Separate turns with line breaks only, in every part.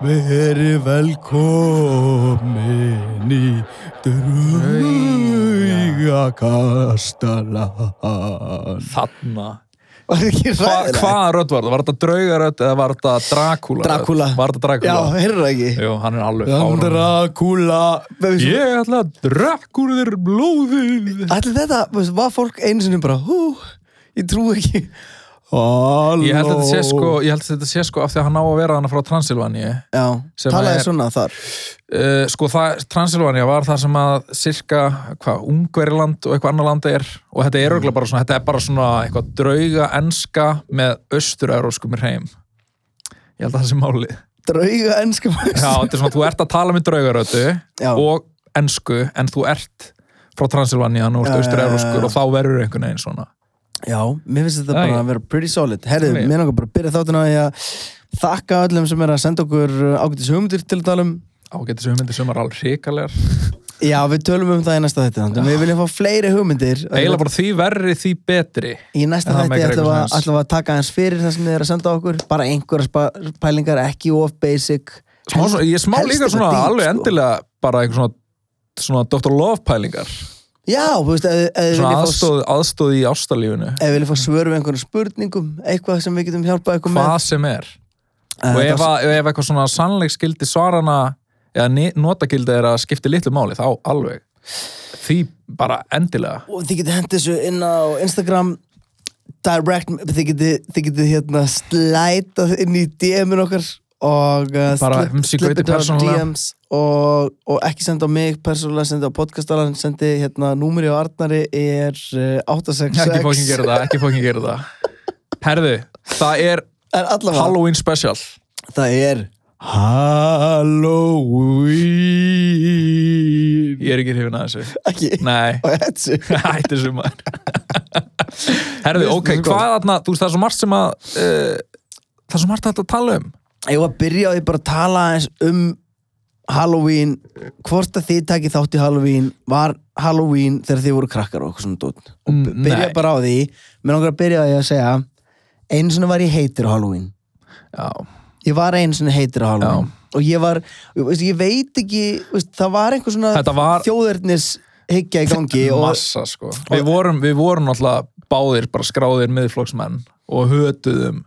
Veri velkomin í draugakastalan.
Þarna
Var það ekki
Hva,
ræðilegt?
Hvaða rödd var það? Var þetta draugarödd eða var þetta Dracula?
Dracula.
Var þetta
Já,
Dracula?
heyrðu það ekki.
Jú, hann er alveg
Þann
fáránlegur.
Dracula.
Ég ætla að drakk úr þér blóðið
Allir þetta, veist, var fólk einu sinni bara, hú, ég trú ekki.
Halló.
Ég held að þetta sé sko, ég held að þetta sé sko af því að hann á að vera hana frá Transilvaníu
Já,
Sem að
talaði
er-
svona þar.
uh, sko það, Transilvania var það sem að cirka, hvað, Ungveriland og eitthvað annar land er og þetta er örgulega bara svona, þetta er bara svona eitthvað drauga enska með austur-euróskum hreim ég held að það sé málið
Drauga ennska maður.
já, þetta er svona, þú ert að tala með draugarötu
Já.
og ensku, en þú ert frá Transilvania, nú
Já, já, já, já.
ert austur-euróskur og þá verður einhvern veginn svona
Já, mér finnst þetta
Já,
bara
ég-
að vera pretty solid. Herðu,
Já, ég-
mér langar bara að byrja þáttinn á því að þakka öllum sem er að senda okkur uh, ágætis hugmyndir til að tala um.
ágættis hugmyndir sem er alveg hrikalegar
Já, við tölum um það í næsta þætti. þannig að Við viljum fá fleiri hugmyndir. uh,
eiginlega bara því verri, því betri
Í næsta
En það
þætti
meikar
ætlum
eitthvað
við að-
sens.
ætlum við að taka hans fyrir það sem þið er að senda okkur. Bara einhverja spa- pælingar, ekki of basic.
smá,
Helst-
svona, ég er smá
helst
líka
eitthvað
svona
deep,
alveg
sko.
endilega bara einhver svona, svona Dr. Love pælingar
Já, þú veist, ef- ef þið
svona
viljið fá-
aðstóð, aðstóð í ástalífinu
ef þið viljið fá svör við einhverjum spurningum, eitthvað sem við getum hjálpað ykkur
hvað
með.
sem er
Eh,
og
þetta
ef, að, ef eitthvað svona sannleikskildi svarana eða ni- notagildi er að skipti litlu máli þá alveg því bara endilega
og þið getið hendið þessu inn á Instagram direct, þið getið þið getið hérna slætað inn í DM-in okkar og uh,
Bara
slip-
MC Gauti
slipið á
persónulega.
DMs um og, og ekki senda á mig persónulega, senda á podcastalan sendi hérna númeri á Arnari er uh,
ekki fókin
866
gera það, ekki fókin gera það herðu, það er
en allavega,
Halloween special
það er
Halloween.
ég er ekki hrifin að þessu
ekki
nei,
á etsu
Hætti þessu maður Herðu,
Mér finnst
ok,
þetta svo
hvað þarna Þú veist, það er svo margt sem að uh, Það er svo margt hægt að tala um
ég var að byrja á því bara að tala aðeins um Halloween, hvort að þið takið þátt í Halloween, var Halloween þegar þið voru krakkar og eitthvað svona dótt og b-
Mm,
byrja
nei.
bara á því mér langar að byrja á því að segja einu svona var ég heitir á Halloween
Já,
ég var einu svona heitir á Halloween og ég var, ég, veist, ég veit ekki veist, það var einhver svona
þetta var
þjóðernis higgja í gangi og
massa, sko Við vorum, við vorum alltaf báðir bara skráðir miðflóksmenn og hötuðum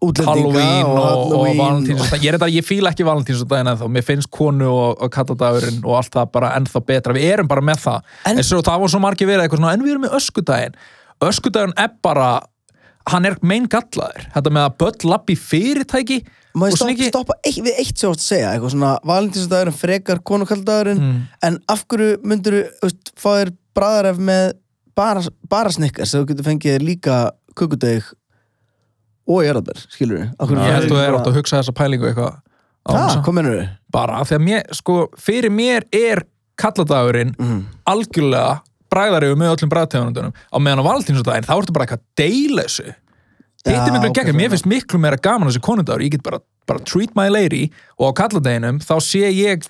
útlendinga
Halloween og, og, og
Halloween
Valentínsdag Ég er þetta, ég fíla ekki Valentínsdaginn ennþá Mér finnst konu og, og kattadagurinn og allt það bara ennþá betra Við erum bara með það
En-
En, svo það var svo margir verið eitthvað svona En við erum með öskudaginn Öskudaginn er bara Hann er mein gallaður Þetta með að börn lappi fyrirtæki
Má
og
ég
svona
stoppa,
ekki-
stoppa eitt, við eitt sem þú átt að segja eitthvað svona valentínsdagurinn frekar konukaldagurinn
Mm.
en af hverju myndur þú fá þér bræðaref með bara, bara snikkar sem þú getur fengið þér líka kukudeg og jarðabær, skilur við af hverju
Ég held
færðu
að þú er
bara-
átt að hugsa þessa pælingu eitthvað á
Ha,
þessa.
hvað mennur þau?
Bara af því að mér, sko, fyrir mér er kalladagurinn
Mhm.
algjörlega bræðariðu með öllum bræðtegunundunum á meðan á valentínsdaginn þá ertu bara eitthvað að deila þessu Hitt er
Já,
miklu
ok,
gegn,
fair
mér finnst miklu meira gaman þessi konundagur, ég get bara, bara treat my lady og á kalladeginum þá sé ég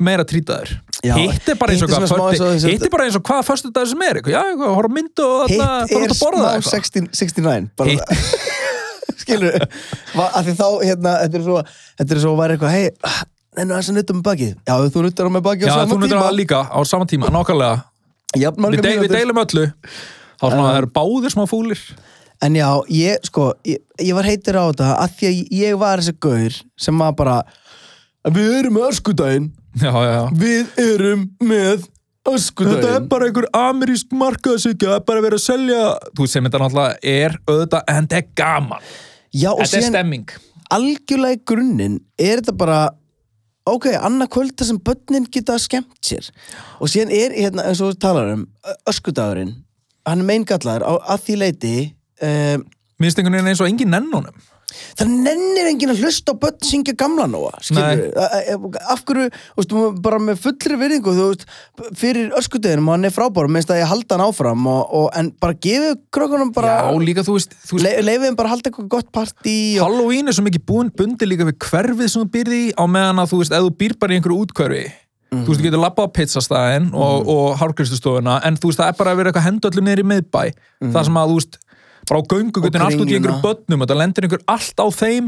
meira trýtaður
Já,
hitt er bara eins og
hitt er svona
hvað
smá eins og
fötti-
þessi-
hitt er bara eins og hvað förstu dagur sem er eitthvað, já, eitthvað, horf á myndu og þarna
Hitt
fara út
er
að borða
smá
eitthvað
16, 69 bara,
Hitt-
skilur við að því þá, hérna, þetta er svo þetta er svo að vera eitthvað, hei en það er sem nuttum með bakið, já þú nuttar á með bakið
já,
á sama
þú myndir
tíma.
að það líka á sama tíma, nákvæmlega
Jafn margar
við, deil,
mínútur.
við deilum öllu þá svona það eru báðir smá fúlir
En já, ég, sko, ég, ég var heitir á þetta að því að ég var þessi gaur sem var bara Við erum með öskudaginn
já, já, já
Við erum með
Þetta er
öskudaginn
bara einhver amerísk markaðsíkja, það er bara verið að selja Þú sem þetta náttúrulega er auðvitað, en þetta er gaman
Já, og
Þetta er
síðan
stemming
algjörlega í grunninn er þetta bara ok, annað kvölda sem börnin geta skemmt sér og síðan er, hérna, eins og við talar um ö- öskudagurinn, hann er meingallaður á, að því leiti um,
Minnst einhvern veginn eins og engin nennunum
það nennir enginn að hlusta á börn syngja gamla nóa, skilur
Nei.
við af hverju, þú veist, maður bara með fullri virðingu, þú veist, fyrir öskudeginum og hann er frábár, minnst að ég halda hann áfram og, og, en bara gefið krökkunum bara,
Já, líka þú veist, þú veist
le, leifið hann bara að halda eitthvað gott partí og,
Halloween er svo mikið búin bundi líka við hverfið sem þú býrði í á meðan að þú veist, ef þú býr bara í einhverju útkverfi þú veist, þú getur labbað á pizzastæðin
Mhm.
og, og hárkristustofuna, en þú veist, það er bara að vera eitthvað hendu allir niður í miðbæ það sem að, þú veist, bara á göngugutin
Mhm. Og
allt út í
Kringluna.
einhverjum börnum þetta lendir einhver allt á þeim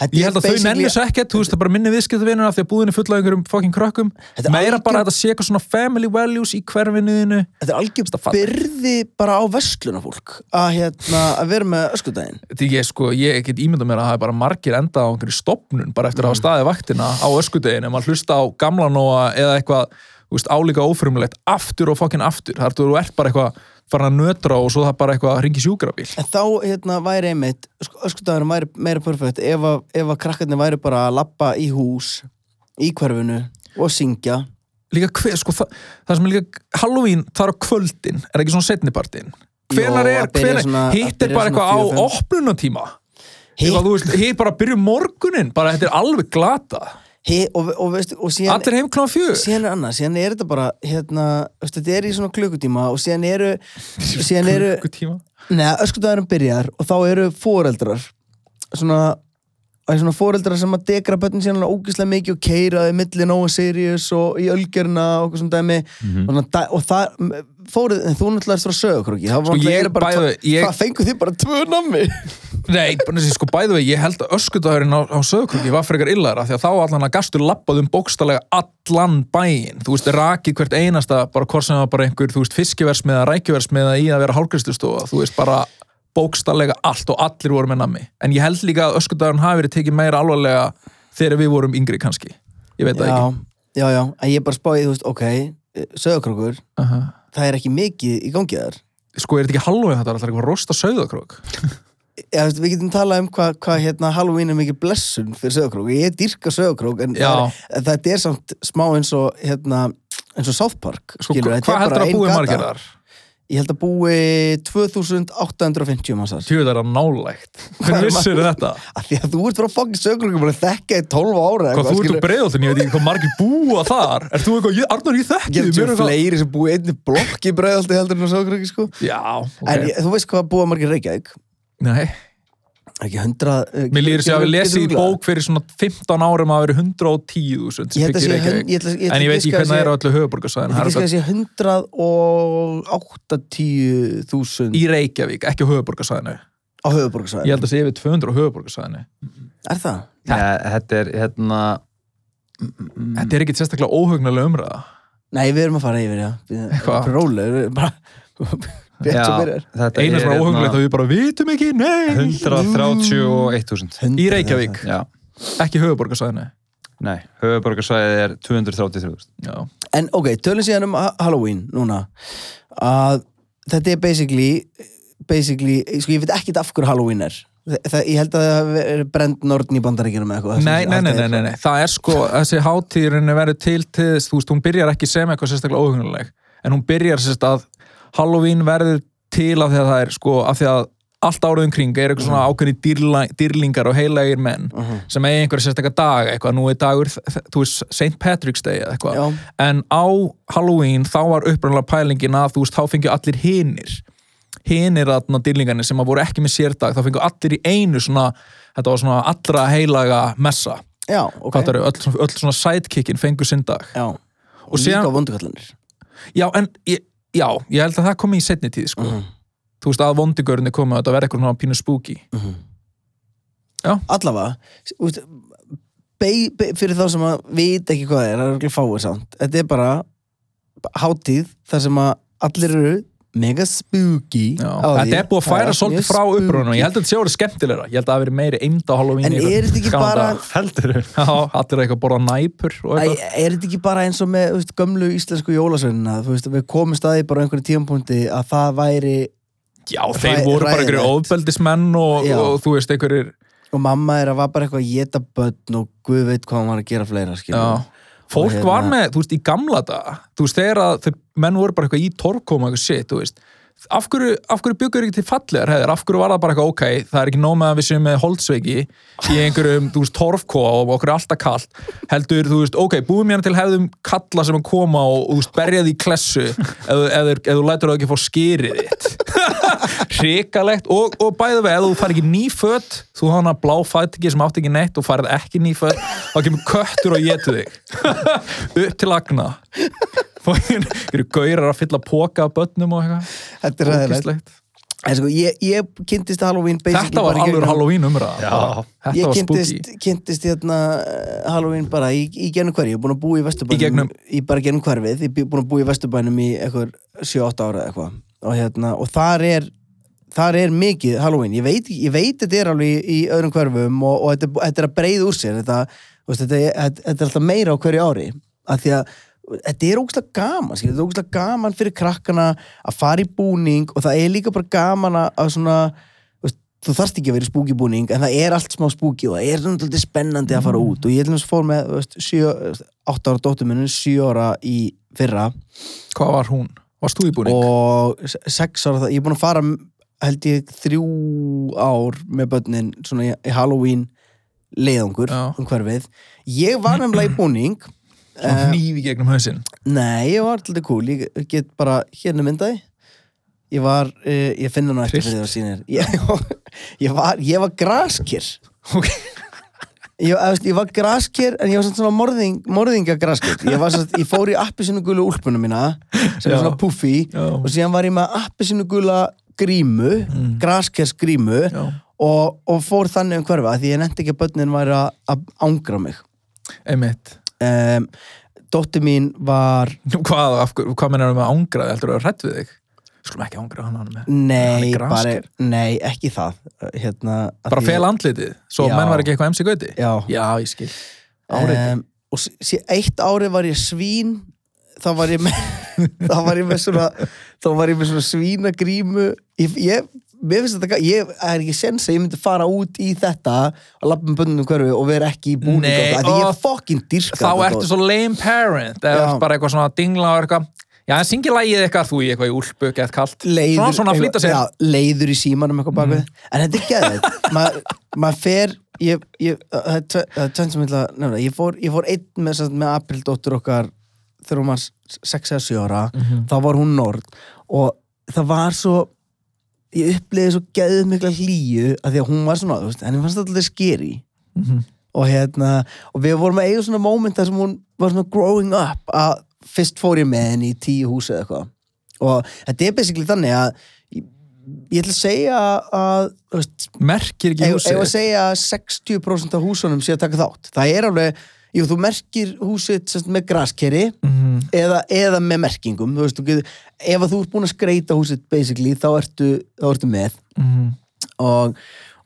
Þetta
ég
er
held að þau
basically-
nennir sér ekkert, þú veist það er bara minni viðskiptavinur af því að búðin er fulla af einhverjum fucking krökkum
Þetta er
meira
algjör-
bara að þetta sé eitthvað svona family values í hverfinuðinu
Þetta er algjör
Þetta falleg.
byrði bara á vestlunafólk að, hérna, að vera með öskudaginn
því ég sko, ég get ímynda mér að það er bara margir enda á einhverju stopnun bara eftir
Mm.
að hafa staðið vaktina á öskudeginu maður hlusta á gamla nóa eða eitthvað þú veist, álíka ófrumlegt aftur og fokkin aftur þar þú ert bara eitthvað farin að nötra og svo það bara eitthvað ringi sjúkrabíl
En þá hérna, væri einmitt öskudagurinn væri meira perfekt ef að, ef að krakkarnir væri bara að lappa í hús í hverfinu og syngja
líka hver, sko, það, það sem er líka Halloween þar á kvöldin, er ekki svona setnipartin hvenar
Jó,
er,
að byrja
hvenar,
svona- að
hitt er
byrja
bara
svona
eitthvað á
fjögur, fimm.
opnunatíma
Hitt-
eitthvað, þú veist, hitt bara byrju morgunin bara þetta er alveg glata
He, og, og, veistu, og síðan,
allir heim kláðan fjögur
síðan er annað síðan er þetta bara hérna, veistu, þetta er í svona klukkutíma og síðan eru, síðan eru
Klukkutíma.
neða, öskudagurinn byrjar og þá eru foreldrar svona Það er svona foreldrar sem að degra börnin síðan alveg ógislega mikið og keira þeim milli Nóa Sirius og í Ölgerna og okkur svona dæmi
Mhm.
og, svona dæ og það, fórið, en þú náttúrulega erst frá sögurkrúki það,
Sko,
sko,
ég
bara,
bæði-
tvö-
ég-
það fengu þið bara tvö nammi
Nei, bara þessi, sko bæðu vegi, ég held að öskudagurinn á, á söðukröki var frekar illara því að þá allan að gastur labbað um bókstallega allan bæin, þú veist, rakið hvert einasta bara hvort sem það var bara einhver, þú veist, fiskiversmiða rækjuversmiða í að vera hálgristustofa þú veist, bara bókstallega allt og allir voru með nammi, en ég held líka að öskudagurinn hafi verið tekið meira alvarlega þegar við vorum yngri kannski, ég veit það
já,
ekki
já, já, en ég bara spáði, þú veist, ok sögurkrúkur,
uh
það er ekki mikið í gangi þar
sko, er þetta ekki hallóið þetta, er alltaf eitthvað að rosta söðukrök
Já, veist, við getum talað um hvað hva, hérna, Halloween er mikið blessun fyrir sögurkrók ég dyrka sögurkrók en
Já.
það er- en þetta er samt smá eins og hérna, eins og South Park
sko,
skilur, þetta er
hvað
bara
heldur að
ein
búið
gata.
margir þar?
Ég held að búi 2850 mannsar
Tjóðu það er nálægt. Hvernig vissirðu þetta?
af því að þú ert frá fokkin sögurkrók og bara þekka í 12 ára
Hvað þú ert úr breiðoltin, ég veit ekki hvað margir búa þar Ert þú eitthvað, ég- Arnar ég þekki þig, mér
getur
er eitthvað-
fleiri sem búi einni blokk í breiðaldi heldur en á sögurkróki sko
Já, ok
en ég, þú veist hvað búa margir Reykjavík
Nei,
ekki 100 eh,
mér lýður sér að við
getur-
lesið í
getur
bók fyrir svona 15 árum að vera
Ég
110.000 sem
held að
byggir
sé
Reykjavík
hund- ég ætla- ég ætla
En ég veit
að
ekki
giska að
hvernig það
sé-
er á öllu höfuborgarsvæðin
Ég finnst kannski 180.000
Í Reykjavík, ekki á höfuborgarsvæðinu
á
Ég
höfuborgsvæðinu.
held að sé yfir 200 á höfuborgarsvæðinu
Er það?
Já.
Nei, Þetta er hérna
Mm.
mm,
Þetta er ekkit sérstaklega óhugnulega umræða
Nei, við erum að fara yfir, já. Við-
Hvað?
Róleg, við erum bara... Bett
já,
sem byrjar.
þetta
Einu sem er
hérna
óhugnulegt að við bara vitum ekki, nei
131.000
Í Reykjavík,
Mm.
Já,
ekki höfuborgarsvæðinu
nei, höfuborgarsvæðið er 233.000
Já,
En ok, tölum síðan um Ha- Halloween núna. Að þetta er basically, basically, sko ég veit ekkit af hverju Halloween er. Þa, það, ég held að það hafi verið brend nortn í bandaríkjunum eða eitthvað.
Nei, nei, nei, nei, nei, nei, það er sko þessi hátíðurinn verður til til þess þú veist, hún byrjar ekki sem eitthvað sérstaklega óhugnulegt en hún byrjar sérst að Halloween verður til af því að það er sko, af því að allt áriðum kring er eitthvað
Mm.
svona ákveðni dýrla, dýrlingar og heilægir menn sem eigi einhverja sérstaklega dag eitthvað, nú er dagur, þ- þ- þú veist, St. Patrick's Day eða eitthvað,
Já.
en á Halloween þá var upprannlega pælingin að þú veist, þá fengju allir hinir hinir þarna dýrlingarnir sem að voru ekki með sérdag þá fengu allir í einu svona þetta var svona allra heilaga messa
Já, ok.
okay. öll, svona- öll svona sidekickin fengu sinn dag
Já. Og
síðan-
líka vondukallanir.
já en ég, já, ég held að það komi í setni tíð
Mhm.
sko. þú veist að vondigörni komi og þetta verði eitthvað svona pínu spooky
allavega úst, be, be, fyrir þá sem að veit ekki hvað það er, það er ekki fáið samt þetta er bara hátíð þar sem að allir eru mega spooky
já.
á því.
þetta er búið að
Það allt
færa
mjög
svolítið frá
spooky.
upprunum ég held að þetta sé orðið skemmtilegra ég held að það hafi verið meiri eind á Halloween
en
í
er þetta ekki
gamla
bara
daga.
Heldur þau?
já, allir eitthvað að borða næpur og
Æ,
eitthvað
er þetta ekki bara eins og með þú veist, gömlu íslensku jólasveinina þú veist, við komum staði bara á einhverjum tímapunkti að það væri,
já, þeir
Hræ-
voru bara
hræðilegt.
einhverjir ofbeldismenn og,
Já.
og þú veist einhverjir
og mamma er að var bara eitthvað að geta börn og guð veit hvað hún var að gera fleira skilur.
Já. Fólk
Og hérna-
var með, þú veist, í gamla daga, þú veist, þegar að þeir, menn voru bara eitthvað í torfkoma, eitthvað shit, þú veist, af hverju, af hverju byggur ekki til fallegar hefðir, af hverju var það bara eitthvað ok, það er ekki nóg með að við séum með holdsveiki í einhverjum, þú veist, torfkóa og okkur er alltaf kallt, heldur, þú veist, ok, búum hérna til hefðum kalla sem að koma og, og þú veist, berja því í klessu eða þú lætur það ekki fá skýrið þitt. Hrikalegt og, og bæðu við, ef þú fær ekki nýfött, þú hana blá fætt ekki sem átt ekki neitt og færð ekki nýfött, þá kemur köttur og getur þig. Upp til agna. Fóin, eru gaurar að fylla póka af bönnum og eitthvað.
þetta er ræðilegt
Ógeðslegt.
En sko, ég, ég kynntist Halloween basically
Þetta var
bara í
alveg
gegnum-
Halloween umræða bara. Þetta
Ég
var
kynntist,
spooky
kynntist hérna eh, Halloween bara í, í gegnum hverju, ég er búin að búa í Vesturbænum
Í gegnum-
í bara gegnum hverfið, ég er búin að búa í Vesturbænum í eitthvað 7-8 ára eða eitthvað og hérna, og þar er þar er mikið Halloween, ég veit, ég veit þetta er alveg í, í öðrum hverfum og, og þetta, þetta er að breyða úr sér þetta, þú veist, þetta, er- þetta, þetta er alltaf meira á hverju ári af því að þetta er ógæslega gaman skil, þetta er ógæslega gaman fyrir krakkana að fara í búning og það er líka bara gaman að- að svona þú veist, þú þarft ekki að vera í spúkibúning en það er allt smá spúki og það er svona dálítið spennandi að fara út og ég til þess fór með þú veist, sjö, 8 ára dóttur minni, 7 ára í fyrra
Hvað var hún? Varst þú í búning?
og 6 ára það, ég er búin að fara held ég þrjú ár með börnin svona í- í Halloween leiðangur
Já.
um hverfið ég var nefnilega í búning eh,
Svona hníf í gegnum hausinn
Nei, ég var alltaf cool Ég get bara hérna myndaði Ég var, uh, ég finn hana eftir
Tryllt.
fyrir það sínir ég, ég var, ég var graskir
Ok.
Ég, eða, veist, ég var graskir en ég var samt svona morðing, morðinga graskir ég, var samt, ég fór í appisinu gula úlpunum mína sem
Já.
er svona puffi
Já.
og síðan var ég með appisinu gula grímu mm. graskers grímu
Já.
og, og fór þannig um hverfa því ég nefndi ekki að börnin væri að- að ángra mig
Einmitt
um, Dóttir mín var
Hvað, af hverju- hvað mennarum með ángraði? Heldur þú að hrætt við þig? Skulum ekki ángraði hann hann er með Hann
Nei,
er
bara,
grasker.
nei, ekki það hérna, að
Bara
því-
fel andlitið Svo
Já.
menn var ekki eitthvað emsi gauti
Já.
ég skil Áreiti
Em, Og s- sé, eitt árið var ég svín þá var ég með þá var ég með svona þá var ég með svona svínagrímu ég, ég, mér finnst þetta ga- ég er ekki sens að ég myndi fara út í þetta að lappa með bönnum hverfi og vera ekki í búning
Nei,
og það, því
og-
ég fokkin dyrka
Þá ertu
sko.
svo lame parent Eða
Já.
ertu bara eitthvað svona að dingla og eitthvað Já, en syngi lagið eitthvað þú í eitthvað í úlpu, gett kalt
leiður,
Svona, svona að flýta sér Mm.
já, leiður í símanum eitthvað bakvið en þetta er geðið maður ma fer ég, ég, það er tve- það er tvennt sem ég ætla að nefna ég fór, ég fór einn með, sem sagt með aprildóttur okkar þegar hún var 6 eða 7 ára þá var hún nord og það var svo ég upplýði svo geðið mikla hlýju að því að hún var svona, þú veist, henni fannst þetta alltaf skeri og hérna og við vorum að eiga svona moment þar sem hún var svona growing up að fyrst fór ég með henni í tíu húsi eða eitthvað og þetta er basically þannig að ég, ég ætla að segja að þú veist,
Merkir ekki
ef ef
húsið
að segja að 60% af húsunum sé að taka þátt það er alveg, jú þú merkir húsið sérst, með graskeri
Mhm.
eða, eða með merkingum þú veist, þú getur, ef að þú ert búin að skreita húsið basically þá ertu, þá ertu með
Mhm.
og,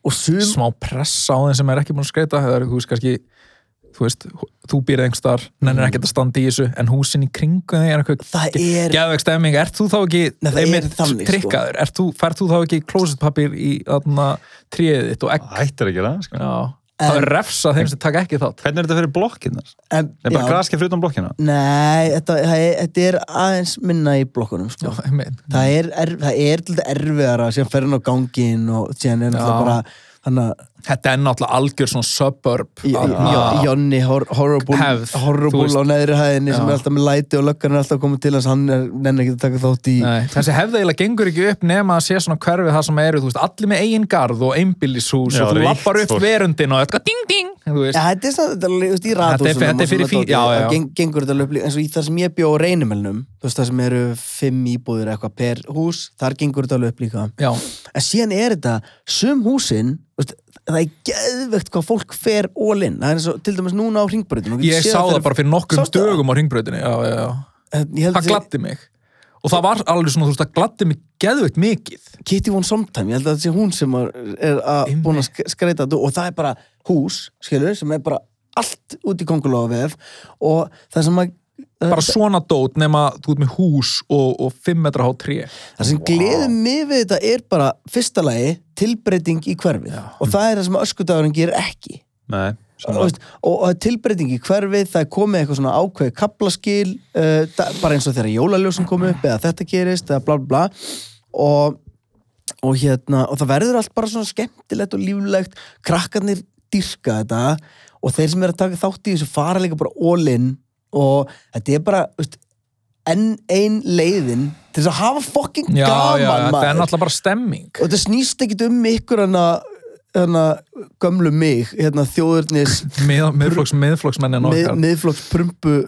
og sum
smá pressa á þeim sem er ekki búin að skreita það er, þú veist, kannski þú veist, hú- þú býr einhvers þar, nennin ekkert að standa í þessu en húsin í kringu þig er
Mhm. Það
eitthvað
er-
geðveik stemming, ert þú þá ekki
Nei, það er þannig, sko.
trikkaður, ert þú, ferð þú þá ekki klósetpapir í þarna tríðið þitt og egg
Hættir að gera það, sko.
já, það er refsa þeim sem taka ekki þátt
Hvernig er þetta fyrir blokkinnar?
en,
Er bara
já.
graskið fyrir utan blokkina?
Nei, þetta, það er- þetta er aðeins minna í blokkunum sko.
já, einmitt.
það er, er, það er til erfiðara sem fer hann á gangin og síðan er náttúrulega
Já.
bara hann að
þetta er náttúrulega algjör svona suburb
J- J- Jonni hor horrible,
Hefð, þú
horrible
veist.
á neðri hæðinni sem
Já.
er alltaf með læti og löggan er alltaf komið til hans hann er nenni ekki að taka þátt í
Nei, þessi hefða eiginlega gengur ekki upp nema að sé svona hverfið það sem eru, þú veist, allir með eigin garð og einbýlishús
Já,
og þú
ríkt
lappar upp
fólk.
verundin og eitthvað ding ding, þú veist
ja, þetta er samt þetta er alveg, þú veist, í
Þetta er-
rathúsunum
þetta er
og svona
fyrir fí-
dóti,
já, já,
það
já.
geng- gengur þetta alveg upp líka, eins og í það sem ég bjó á reynumelnum þú veist það sem eru fimm íbúður eitthvað per hús, þar gengur þetta alveg upp líka
Já,
en síðan er þetta sum húsin þú veist, það er geðvegt hvað fólk fer all in, það er eins og til dæmis núna á ringbröðinu
ég sá það bara fyrir nokkrum
Sástu það?
dögum á ringbrautinni, já, já, já
fyrir
Það gladdi mig og það var alveg svona, þú veist, það gladdi mig geðveikt mikið
Kitty One Sometime, ég held að þetta sé hún sem er- er að
Einmitt.
búin að sk- skreita þetta og það er bara hús, skilur, sem er bara allt út í kongulofið og það sem, að,
Bara svona dót nema þú ert með hús og, og 5 metra há 3
það sem wow. gleður mig við þetta er bara fyrsta lagi tilbreyting í hverfið og það er það sem öskudagurinn gerir ekki
Nei,
og,
sammála.
veist, og, og tilbreyting í hverfið það er komið eitthvað svona ákveðið kaplaskil uh, da- bara eins og þegar jólaljósin kom upp eða þetta gerist eða bla bla bla og, og hérna og það verður allt bara svona skemmtilegt og líflegt krakkarnir dyrka þetta og þeir sem er að taka þátt í þessu fara líka bara all in og þetta er bara veist, enn ein leiðin til þess að hafa fucking
Já,
gaman
já, þetta er
maður
náttúrulega bara stemming
og þetta snýst ekkit um ykkur hana, hana gömlu mig hérna þjóðurnis
Mið, Miðflokks, miðflokksmennin
mið,
okkar
miðflokks prumpu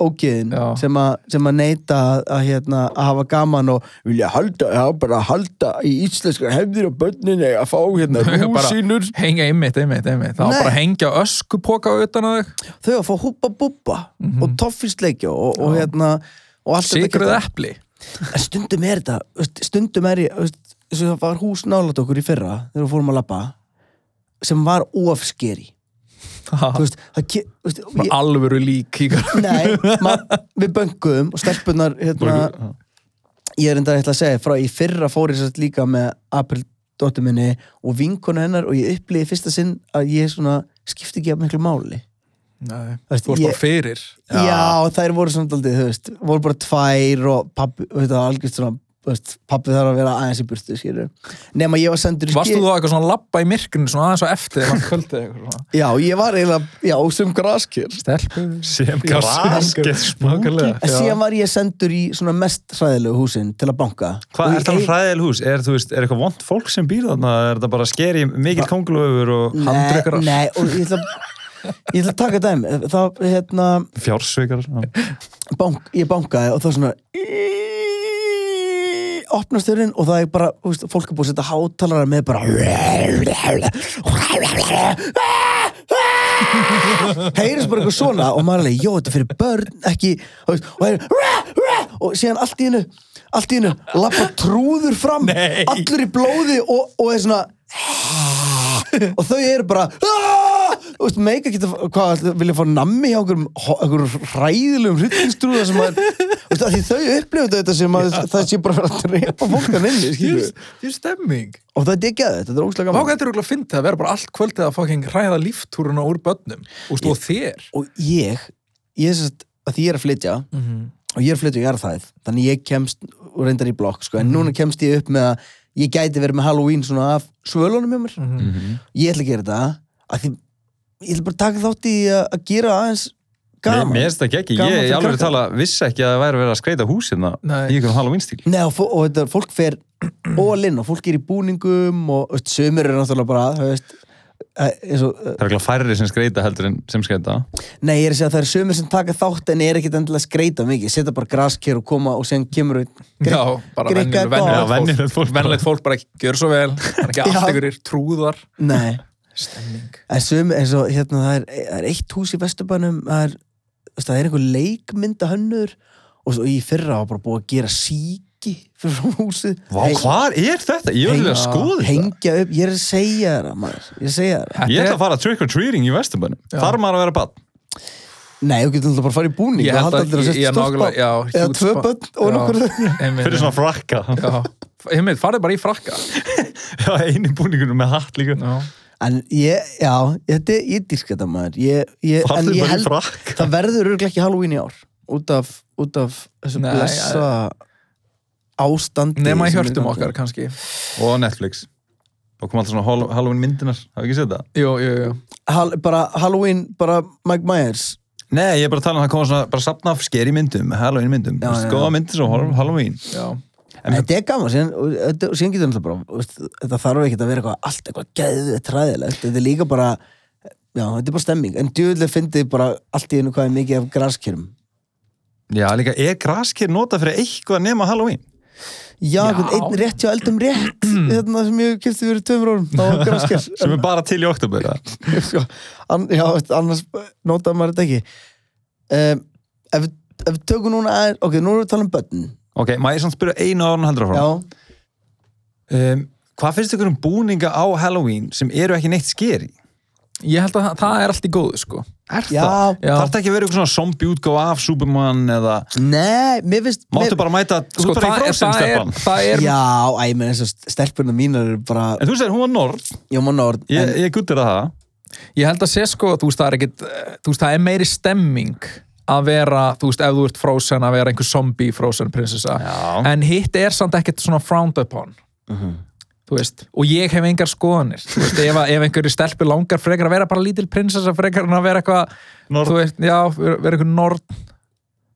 ógeðin
Já.
sem, að- sem að neita að, að, hérna, að hafa gaman og vilja halda, já, bara halda í íslenskar hefðir og börnin eiga að fá hérna rúsinur
hengja einmitt, einmitt, einmitt það
Nei.
var bara að hengja öskupoka utan að þig
þau að fá húpa búpa og toffisleikja og, og
Mhm. Já.
hérna og allt þetta
sigruð
geta-
epli
En stundum er þetta, veist, stundum er ég veist, eins og það var hús nálat okkur í fyrra þegar við fórum að labba sem var ofskeri
Ha, bara
Nei,
alvöru lík í-
ma, við bönguðum og stelpunar hérna, ég er enda að ætla að segja frá í fyrra fór ég satt líka með April dóttur minni og vinkonu hennar og ég upplýði fyrsta sinn að ég svona skipti ekki að miklu máli
Nei, þú
Veist,
varst
ég-
bara fyrir
Já, þær voru samt aldrei, þú veist, voru bara tvær og pappi, þú veist, það var algjörst svona, þú veist, pappi þarf að vera aðeins í burtu, skilur. Nefn að ég var sendur í
varstu þú eitthvað svona labba í myrkrinu svona aðeins og eftir þegar maður kvöldið eitthvað svona
Já, ég var eiginlega, já, sem graskir.
stelpu
Sem graskett
Nákvæmlega.
En
Já.
síðan var ég sendur í svona mest hræðilegu húsin til að banka.
Hvað
Og
er
ég-
það um hræðil hús? Er, þú veist, er eitthvað vond fólk sem býr þarna? Er þetta bara skeri
Ah.
mikill kongulöfur og
Nei,
handrykkarar?
nei, og ég ætla, ég ætla að taka dæmi. Það, hérna,
Fjársveikar?
bank, ég bankaði og það var svona opnast þurrinn og það er bara þú veist, fólk er búið að setja hátalara með bara heyrðis bara eitthvað svona og maður er alveg, jó, þetta er fyrir börn ekki, þú veist, og heyrðir og síðan allt í hennu allt í hennu, lappa trúður fram
Nei.
allur í blóði og, og er svona og þau eru bara "Ah!" Þú veist, meika geta, hvað, ætli- vilja fá nammi hjá einhverjum, ho- einhverjum hræðilegum hryllingsdrúða sem að, þú veist, að því þau upplifðu þetta sem að það sé bara að fara að drepa fólkan inni, skilju
því stemming
og það er ekki að þetta, þetta er ógslag
Vá,
gaman
þetta er okkur að finna það að vera bara allt kvöldið að fucking ræða líftúruna úr börnum Úst, og þér
og ég, ég er sérst að því ég er að flytja og ég er að flytja í Garðhæð þannig ég kemst, og reyndar í blokk sko, en
Mhm.
núna kemst ég upp með að ég gæti verið með Halloween svona af svölunum hjá mér
Mhm.
ég ætla að gera þetta að því, ég ætla bara að taka þátt í að, að gera aðeins gaman
Mér finnst það ekki.
Gaman
Ég,
fyrir
ég alveg
krakka.
tala, vissi ekki að það væri verið að skreita húsina
Nei.
í einhverjum Halloween-stíl.
Nei, og, fó- og þetta, fólk fer all in og fólk er í búningum og veist, sömur eru náttúrulega bara þú veist, eh, eins og, eh,
Það er eitthvað færri sem skreita heldur en sem skreita.
nei, ég er að segja að það eru sömur sem taka þátt en er ekkit endilega að skreita mikið setja bara grasker og koma og sen kemur einn grikk-
Já, bara
grikka
venjulegt
eitthvað
Já,
á.
venjulegt
venjulegt fólk.
fólk Venjulegt fólk bara ekki gjör svo vel Það er ekki
Já.
allt ykkur trúðar
Nei,
Stemming
en sömur eins og hérna það er, það er eitt hús í Vesturbænum það er, veist, það er einhver leikmynda hönnur og svo í fyrra var bara búið að gera síki fyrir frá húsið
Vá,
Heng-
hvað er þetta? Ég vil
heng-
að skoða þetta.
hengja upp, ég er að segja þér það, maður, ég er að segja þér það.
Ég ætla að fara trick-or-treating í Vesturbænum. Þar maður að vera bann.
Nei, þú getur náttúrulega bara að fara í búning
Ég
og
held
halda
að
allir að
ég- ég
setja stort
nákvæmlega
bát
já,
eða
huge
tvö
spot.
bönn og
Já,
nokkur
einmitt,
Fyrir svona frakka.
Já, einmitt, farið bara í frakka
Já, einu búningunum með hatt líka.
Já,
En ég, já, þetta, ég dýrka þetta maður ég, ég,
Farðu
En
bara í
ég held,
frakka.
það verður örglega ekki Halloween í ár út af, út af þessu
Nei,
blessa ástandi
nema í
sem
hjörtum
er
okkar kannski
Og Netflix. Og kom alltaf svona Hall- Halloween-myndinar. Hafið ekki séð það?
Jú, jú, jú
Hall, Bara Halloween, bara Mike Myers
Nei, ég er bara að tala um það koma svona, bara safna af skeri myndum, Halloween myndum,
Já,
já,
já, já.
góða myndir sem horf- Halloween.
Já,
En-
Þetta er gaman, síðan, og þetta- og síðan getur náttúrulega bara þú veist, Þetta þarf ekki að vera eitthvað allt eitthvað geðið træðilegt Þetta er líka bara Já, þetta er bara stemming En djúðlega fyndið bara allt í einu hvað er mikið af graskjörum
Já, líka, er graskir nota fyrir eitthvað nema Halloween?
Já,
Já.
einhvern einn rétt hjá eldum rétt
Mm.
hérna sem ég kefti fyrir tveimur árum þá var grasker
Sem er bara til í oktober, það.
Sko, an, Já, veist, annars notaði maður þetta ekki um, ef, við- ef við tökum núna að, ok, nú erum við að tala um börn
Ok, maður ég samt spyrja einu árun heldur frá.
Já,
Um, hvað finnst ykkur um búninga á Halloween sem eru ekki neitt skeri?
ég held að það, það er allt í góðu sko
Er
Já.
það?
Já.
Þarf það ekki að vera eitthvað svona zombie útgáð af Superman eða...
nei, mér finnst
Máttu
mér,
bara mæta, þú
Sko,
ert bara
það er,
í frósin,
það er,
Stefan.
það er
Já, æ, menn eins og stelpurna mínar eru bara,
En þú segir, hún var norð,
já, mann orð
ég, ég guttir að það.
Ég held að sé sko, þú veist, það er ekkit eh, þú veist, það er meiri stemming að vera, þú veist, ef þú ert frozen að vera einhver zombie frozen prinsessa
Já.
en hitt er samt ekkit svona frowned upon þú veist, og ég hef engar skoðanir, þú veist, ef, að- ef einhverju stelpu langar frekar að vera bara lítil prinsessa frekar en að vera eitthvað,
Norn.
þú veist, já vera vera einhver nord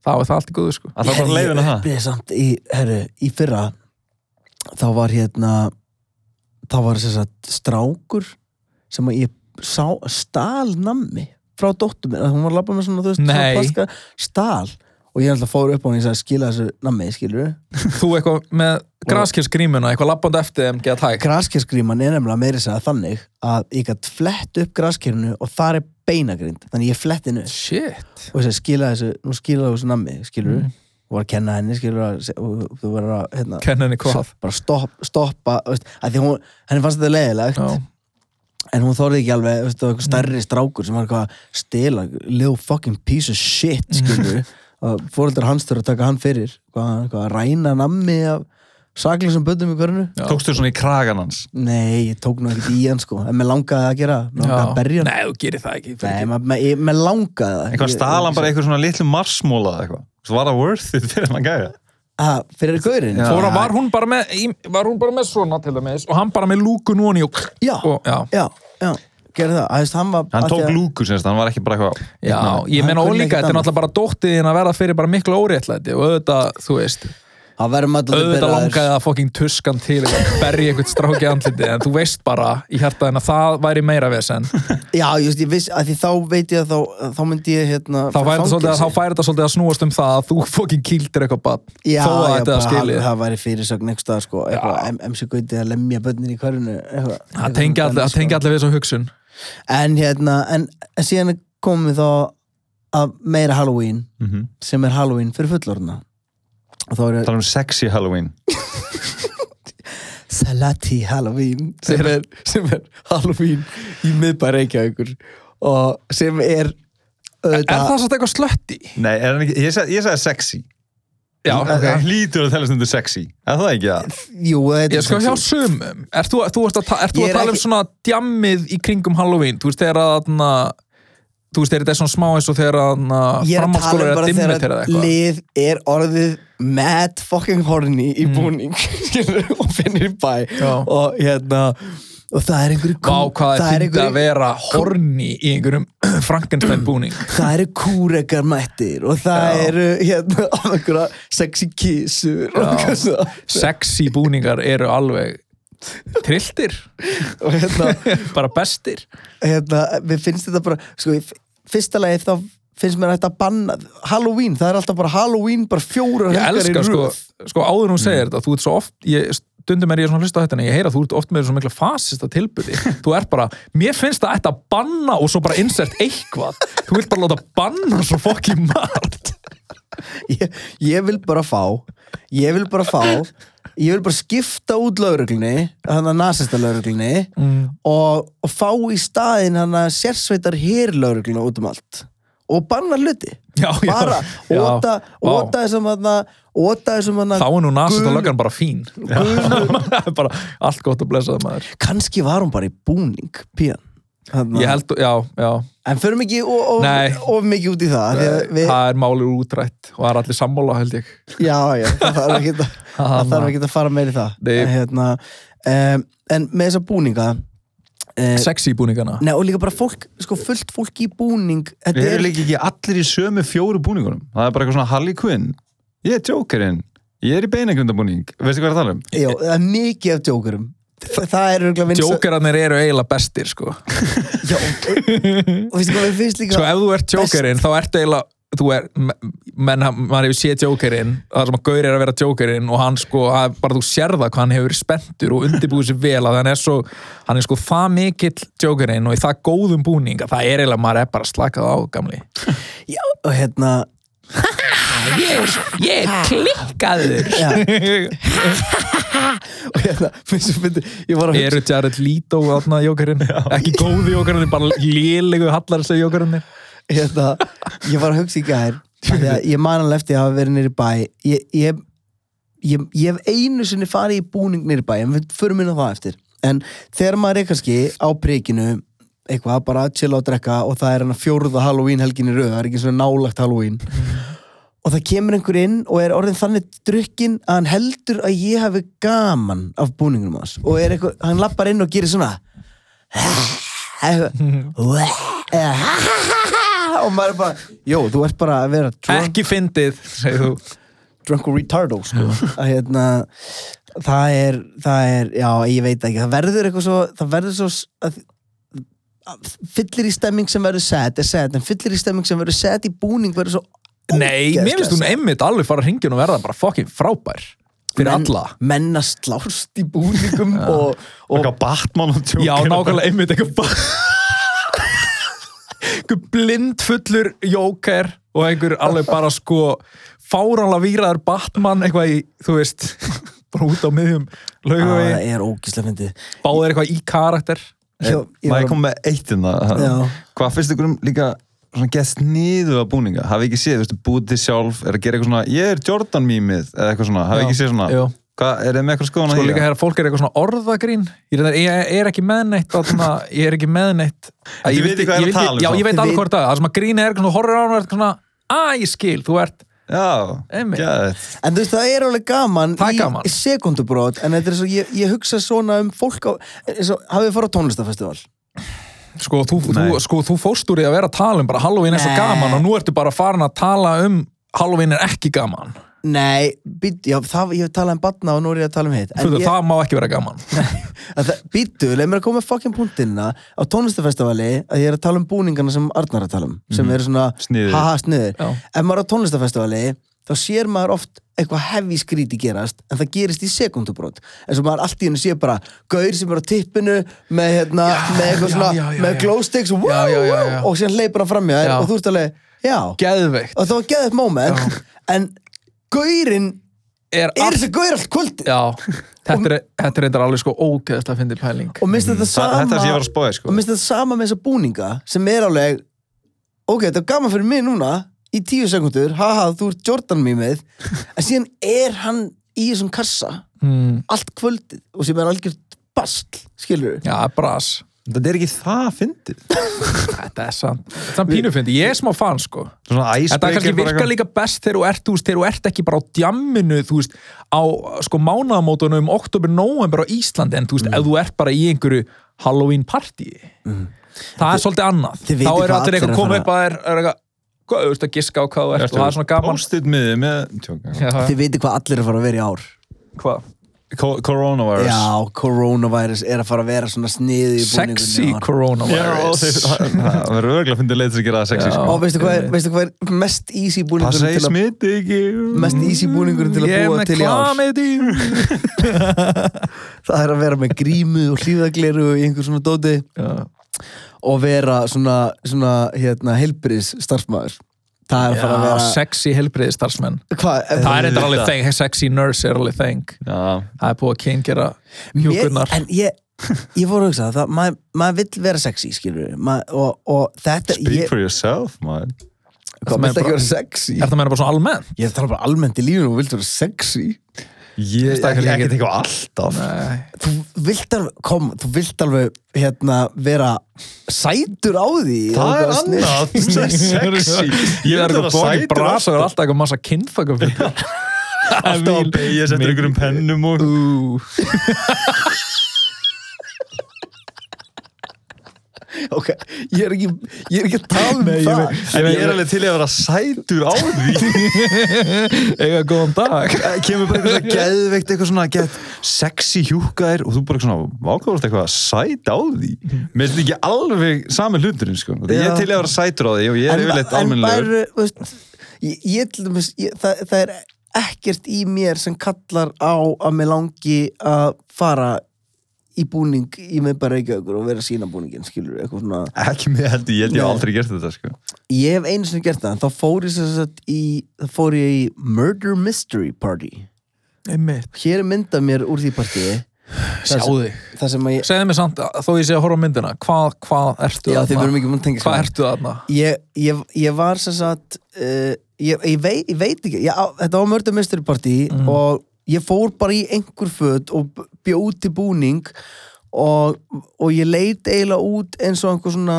þá er það allt í góðu sko
Að það er bara leiðin að það.
upplýði samt í, herru, í fyrra þá var hérna þá var þess að strákur sem að ég sá stál nammi frá dóttu mér að hún var að labba með svona, þú veist, svona
Nei.
plaska stál og ég alltaf fór upp á hún og ég sagði skila þessu nammi, skilur
Þú eitthvað með graskilsgrímuna, eitthvað labband eftir þeim, geða tæk.
graskirskríman er nefnilega meiri segja þannig að ég gætt flett upp graskirinu og þar er beinagrind, þannig ég flett hennu upp
Shit.
og ég sagði skila þessu, nú skila þessu nammi, skilur
Mm.
og var að kenna henni, skilur að, og þú verður að, hérna,
Kenninni hvað.
bara stopp, stoppa þú veist, að því hún, henni fannst þetta leiðilegt
Já. Mm.
en hún þorði ekki alveg, þú veist, það var eitthvað stærri strákur sem var eitthvað að stela little fucking piece of shit, skilur
Mm.
og fóreldar hans þurfa að taka hann fyrir hvað, hvað, að ræna nammi af saklisum bötum í hvernu
Já.
Tókstu svona í kragan hans
Nei, ég tók nú ekkert í hann sko en mér langaði að gera, mér langaði að berja hann
Nei, þú gerir það ekki.
Nei, ma- ma- ég- mér langaði það
Eitthvað
Ég-
stalan bara eitthvað svona litlu marsmóla eða eitthvað Svo var það worth it fyrir hann gæja
Ah, Fyrir gaurin
Já.
Fóra, var hún bara með, í- var hún bara með svona til dæmis og hann bara með lúkun og hann í og...
Já,
Og, já.
já, já, gerði það Æst, hann, var,
Hann
af því
tók
að-
lúku semst, hann var ekki bara eitthvað
Já,
hérna,
ég
hann
meina
kunni
ólíka,
ekkert
þetta er
annað.
náttúrulega bara dóttiðin að verða fyrir bara miklu óréttlæti og auðvitað, þú veist,
Hann verður maður
auðvitað langaði að fokking tuskan til að berja eitthvað stráki andliti en þú veist bara í hjartaðin að það væri meira vesen
Já, just, ég veist, að því þá veit ég að þá, þá myndi ég hérna
þá færi þetta svolítið að- þá færi þetta svolítið að snúast um það að þú fokkin kýldir eitthvað bann
Já,
þó að
já,
þetta
bara
skilið
það væri fyrirsögn einhvers staðar sko, eitthvað, M- MC Gauti að lemja börnin í hverjunu
það tengja allir, það tengja allir við þessu hugsun
sko. En hérna, en en síðan komum við þá að meira Halloween
Mhm.
sem er Halloween fyrir fullorna og þá eru
Tala um sexy Halloween
Salati Halloween sem er, sem er Halloween í miðbæri Reykjavíkur og sem er
er
auðvitað
það svolítið eitthvað slötti?
Nei, er hann ekki, ég sag- ég sagði sexy
já, ok
Hann hlýtur að telast undir sexy Er það ekki það?
Jú, þetta
Ég
er
sko hjá
sexy.
sumum, ert þú, þú ert að, ta- ert þú
Ég
að
er
tala um
ekki-
svona djammið í kringum Halloween, þú veist þegar að þarna, þú veist þegar þetta er svona smá eins og þegar að þarna,
Ég er að tala
framhaldsskólar
um
er að
bara
dimmi þegar
þegar
eða
að
eitthvað
lið er orðið mad fucking horny í búning skilur, og finnir í bæ
Mm. Já.
og hérna og það er einhverju
Vá, hvað
það
það
er
finnst að
einhverju
vera horni í einhverjum Frankenstein búning
það eru kúrekar mættir og það
Já.
eru hérna einhverja sexy kissur og, eitthvað svona.
Sexy búningar eru alveg trilltir
og hérna
bara bestir
hérna, við finnst þetta bara sko, í f- fyrsta lagi þá finnst mér þetta að banna Halloween, það er alltaf bara Halloween bara fjóra
Ég elska sko,
röð Mm.
sko áður en hún segir þetta þú ert svo oft, ég, stundum er ég svona að hlusta á þetta en ég heyra að þú ert oft með svona mikla fasista tilbyrði þú ert bara, mér finnst það ætti að banna og svo bara insert eitthvað þú vilt bara láta banna svo fokki margt
ég, ég vil bara fá ég vil bara fá ég vil bara skipta út lauruglunni þannig að nasista lauruglunni
Mm.
og, og fá í staðin hann að sérsveitar hér lauruglunni út um allt og banna hluti
Já, já,
bara
já.
óta,
Vá.
óta þessum hann óta þessum hann
þá er nú nasist
Gul-
að löggan bara fín bara allt gott að blessa það maður
kannski var hún bara í búning pían Þarna-
ég held, já, já
En förum ekki of, of,
Nei.
of mikið út í það af því að við,
það er málið útrætt og það er allir sammála held ég
Já, já, það þarf ekki að, það þarf ekki að fara meir í það
Nei.
En, hérna, um, en með þessa búninga uh,
sexy búningana
Nei, og líka bara fólk, sko, fullt fólk í búning Þetta
Við
er,
erum líka ekki allir í sömu fjóru búningunum Það er bara eitthvað svona Harley Quinn Ég er Jokerinn Ég er í beinagrindabúning Veistu hvað ég er að tala um?
já, það er mikið af djókurum Þa, Það er örgulega vinsa
Jokerarnir eru eiginlega bestir sko
já, og, og veistu hvað við finnst líka
Sko ef þú ert Jokerinn þá ertu eiginlega þú er, menn maður hefur séð Jokerinn það sem að Gaur er að vera Jokerinn og hann sko, það er bara þú sér það hvað hann hefur verið spenntur og undirbúið sér vel að hann er svo hann er sko það mikill Jokerinn og í það góðum búning að það er eiginlega maður er bara slakað á gamli
já, og hérna
Ég, ég er klikkaður
Já. og hérna, finnst þú fyndi ég var að
Eru Jared Leto aðna Jokerinn? Ekki góði Jokerinn, bara lélegu hallarslega Jokerinn
hérna, ég var að hugsa í gær af því að ég man alveg eftir að hafa verið nýri bæ ég, ég, ég, ég hef einu sinni farið í búning nýri bæ en við förum inn á það eftir en þegar maður er kannski á prikinu eitthvað bara að chilla og drekka og það er hann að fjóruða Halloween helgin í röð það er ekki svona nálagt Halloween og það kemur einhver inn og er orðin þannig drukkin að hann heldur að ég hafi gaman af búningunum hans og er eitthvað, hann lappar inn og gerir svona og maður er bara Jó, þú ert bara að vera drunk,
Ekki fyndið, segir þú
drunk og retardo sko. að hérna það er, það er, já, ég veit ekki það verður eitthvað svo, það verður svo s- að, fyllir í stemming sem verður sad er sad, en fyllir í stemming sem verður sad í búning verður svo
Nei, mér finnst hún einmitt alveg fara hringin og verða bara fucking frábær fyrir alla
menna slást í búningum og, og
Eitthvað Batman og Joker
Já, nákvæmlega einmitt eitthvað bara einhver blindfullur jóker og einhver alveg bara sko fáránlega víraður Batman eitthvað í, þú veist bara út á miðjum
Ah,
laugavegi
það er ógíslega fyndið
báðir eitthvað í karakter
Hjó- ég
Má
var
ég
að-
koma Eh, með eitt inna
Já.
Hvað finnst ykkur um líka svona gest niður að búninga hafið ekki séð, þú veist, búið til sjálf er að gera eitthvað svona, ég er Jordan mýmið eða eitthvað svona, hafið
Já.
ekki séð svona
Jú.
Hvað, er þið með eitthvað skoðan
sko líka þegar fólk er eitthvað svona orðagrín ég er, ég er ekki með neitt þarna, ég er ekki með neitt
En þið vitið hvað er að tala um
já,
samt.
ég veit
Þið
alveg
vit-
hvort það er. það sem að grín er eitthvað svona horfir á hann og er svona að ég skil, þú ert
Já,
Einmitt.
geðveikt.
En þú veist, það er alveg gaman
Það er
í
gaman.
sekundubrót en þetta er svo, ég, ég hugsa svona um fólk á, eins og hafið þið farið á tónlistafestival
Sko, þú, þú,
Nei.
sko, þú fórst úr því að vera að tala um bara Halloween er svo
Nei.
gaman og nú ertu bara farin að tala um Halloween er ekki gaman
Nei, být, já, það, ég hef talað um batna og nú er ég að tala um hitt
Þú
En
veit,
ég-
það má ekki vera gaman
að það- Býtu, leið mér að koma með fucking punktinna á tónlistafestivali að ég er að tala um búningana sem Arnar er að tala um sem eru svona
Sniðugir.
haha sniður
Mhm. Já.
Ef maður er á tónlistafestivali þá sér maður oft eitthvað heavy skríti gerast en það gerist í sekundubrót eins og maður allt í hennu sér bara gaur sem er á tippinu með, hérna, með eitthvað
já,
svona
já, já,
með
já.
glow sticks woo,
Já, já, já, já.
Woo, og síðan leipur hann fram hjá
Já.
þér og þú ert alveg, já
Geðveikt
og það var geðið moment en gaurinn
er
er
all...
þessi gaur allt kvöldi
Já, þetta er, þetta er reyndar alveg sko ógeðast að fyndi pæling
og minnst þetta
Það-
sama
þetta er sem ég var að spáði sko
og minnst þetta sama með þessa búninga sem er alveg ok, þetta er gaman fyrir mig núna í tíu sekundur, haha, þú ert Jordan mýmið en síðan er hann í þessum kassa
mm,
allt kvöldið og sem er algjört bastl, skilur við
Já, bras
Þetta er ekki það fyndið Þetta
Þetta er sann Sann pínu fyndi, ég er smá fan sko
er svona
Þetta kannski
icebreaker bara
virkar
eitthvað.
líka best þegar þú ert, þú veist, þegar þú ert ekki bara á djamminu, þú veist, á sko mánaðamótunum, oktober, november á Íslandi, en þú veist,
Mm.
ef þú ert bara í einhverju Halloween party, það er svolítið annað.
þið
Þá
vitið
eru
hvað
allir
allir
eitthvað
eru
að koma
að
upp að þér, er eitthvað, hvað, þú veist, að giska á hvað þú ert og það er svona gaman.
Post-it miði með tjók,
Já,
þið veitir hvað allir er að fara að vera í ár
hvað?
Co- Coronavirus
já, coronavirus er að fara að vera svona sniði í búningunni
Sexy
og-
Já, og
coronavirus.
þeir- það það verður örgulega að fyndið leið til að gera það sexy
Já.
sko.
og veistu hvað er, veistu hvað er mest easy
Passa
búningurinn
í
til að,
smiti ekki
mest easy búningurinn til að
Ég er
búa
með
til í ár
klamið
það er að vera með grímu og hlýðagleru í einhver svona dóti
Já,
og vera svona, svona hérna, heilbriðs starfsmæður það er að fara að vera
sexy helbriðistarsmenn.
Hva,
Það er
Auðvitað.
eitthvað alveg þeng, sexy nurse er alveg þeng.
Já,
Það er búið að kyngjara hjúkurnar.
en ég, ég fór að hugsa það maður mað vill vera sexy skilur maður, og, og þetta
speak
ég,
for yourself man.
hvað
meina
vill ekki
bara-
vera sexy
Er það meina bara svona almennt?
ég tala bara almennt í lífinu og vilt vera sexy
Ég
Það er
ekki
kannski
ekki
ekki-
tekið alltaf
Nei.
þú vilt alveg, kom, þú vilt alveg hérna, vera sætur á því
Það
Og
er
bara snill.
annað þú segir sexy
Ég er
eitthvað
eitthvað bóðin í
sætur
brasa og er alltaf eitthvað massa kynfaka
Alltaf að beigja sér eftir einhverjum um pennum og
ok, ég er ekki ég er ekki að tala um
ég
það
veit-
En ég er alveg til í að vera sætur á því
Ega góðan dag
Eh, Kemur bara eitthvað svona geðveikt eitthvað svona get sexy hjúkaðir og þú bara svona ákvæðast eitthvað sæt á því Mér finnst ekki alveg sami hluturinn sko Ég er
Já.
til í að vera sætur á því og ég er yfirleitt almennlegur
bara, þú veist, ég, ég, til dæmis, ég, það, það er ekkert í mér sem kallar á að mér langi að fara í búning í mig bara ekki okkur og vera að sína búningin skilur eitthvað svona
Ekki með heldur, ég held
Nei.
ég hef aldrei gert þetta sko
ég hef einu sinni gert það en þá fór ég sem sagt í þá fór ég í Murder Mystery Party
Einmitt
hér er mynda mér úr því partíi
Sjáðu þig
það sem að ég
Segðu mér samt, þó ég sé að horfa á myndina Hvað, hvað ertu
já þið
þarna?
verum ekki múin að tengja
Hvað
saman.
ertu þarna?
ég, ég, ég var sem sagt uh, ég, ég, veit, ég veit ekki ég, á, þetta var mörgðu mystery party
Mhm.
og ég fór bara í einhver föt og b- bjó til búning og, og ég leit eiginlega út eins og einhver svona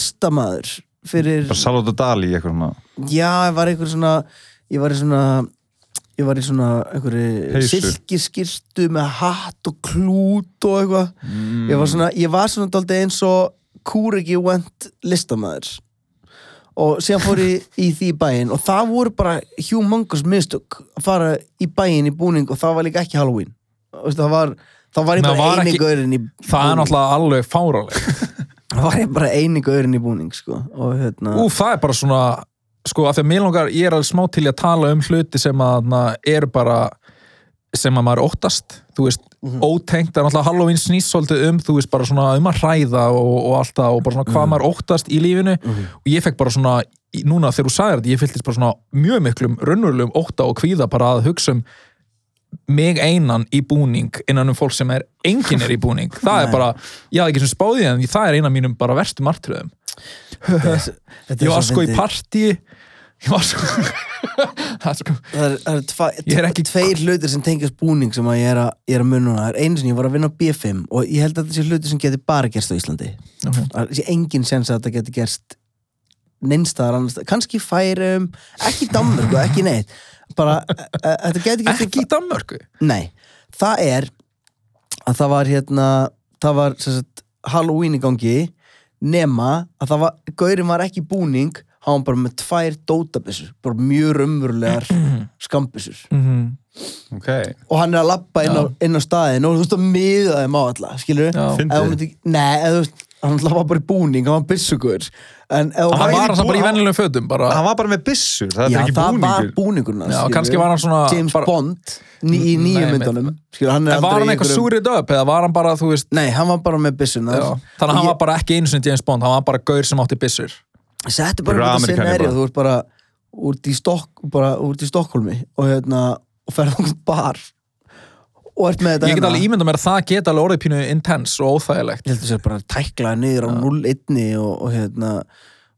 listamaður fyrir,
Bara Salvador Dali í eitthvað svona
já, ég var einhver svona ég var í svona ég var í svona einhverju
Peysu.
silkiskirtu með hatt og klút og eitthvað ég var svona, ég var svona daldið eins og Kúriki went listamæður og síðan fór ég í því í bæinn og það voru bara humongous mistök að fara í bæinn í búning og það var líka ekki Halloween Þú veist, það var, það var ég
Nei,
bara
var
eini
ekki-
gaurinn í
Það er
búning.
náttúrulega alveg fáraleg
var ég bara eini gaurinn í búning sko. og hérna
Úf, það er bara svona sko, af því að mér langar, ég er alveg smá til í að tala um hluti sem að na, eru bara sem að maður óttast þú veist, ótengt, en alltaf Halloween snýst svolítið um, þú veist, bara svona um að hræða og, og allt það og bara svona hvað maður óttast í lífinu og ég fekk bara svona í- núna þegar þú sagðir þetta, ég fylltist bara svona mjög miklum, raunverulegum ótta og kvíða bara að hugsa um mig einan í búning innan um fólk sem er enginn er í búning, það er bara ég hafði ekki sem spáði því, en það er eina mínum bara verstum artröðum
þetta er
ég var
svo
sko í
fyndið.
partí ég var sko, Það er sko
það er, það er, tva,
Ég er ekki-
tveir hlutir sem tengjast búning sem að ég er að, ég er að muna núna. það er einu sinni, ég var að vinna á B5 og ég held að þetta sé hlutir sem getur bara gerst á Íslandi
Ok.
það sé engin sens að þetta getur gerst neinstaðar annars staðar. kannski færum, ekki í Danmörku ekki neitt, bara e- e- þetta getur gerst
ekki í Danmörku
Nei, það er að það var hérna það var sem sagt, Halloween í gangi nema að það var gaurinn var ekki í búning hann var bara með tvær dótabissur bara mjög raunverulegar skambissur Mhm.
Ok.
og hann er að labba inn á,
Mm. Já.
inn á staðin og þú veist að miða þeim á alla skilur
Já.
Fyndið.
við? Nei, eða þú veist hann labba bara í búning, hann var bissugur en ef
hann
var
var
í
alltaf bara í
bú-
vennilegum fötum bara,
Hann var bara með byssur, það
Já,
er ekki
það var
búningur.
búningurna
Já, kannski var hann svona-
James
bara-
Bond ný, í
Nei,
nýjum
einmitt.
myndunum skilur, hann er
en
aldrei
var
í
hann eitthvað
einhverjum-
súrið upp eða var hann bara, þú veist
Nei, hann var bara með byssunar
já, þannig að hann var bara ekki einu sinni James Bond hann var bara gaur sem átti byssur
Settu bara
Bara
um þetta
Ameríkanir
scenari
bara.
þú ert bara úrt í, Stokk, bara úrt í Stokkólmi og, hérna, og ferð okkur bar og ert með þetta
ég get
hérna.
alveg ímynda mér að það geta alveg orðið pínu intense og
Ég
óþægilegt
heldur sér bara að tækla niður á 0-1 og, og, hérna,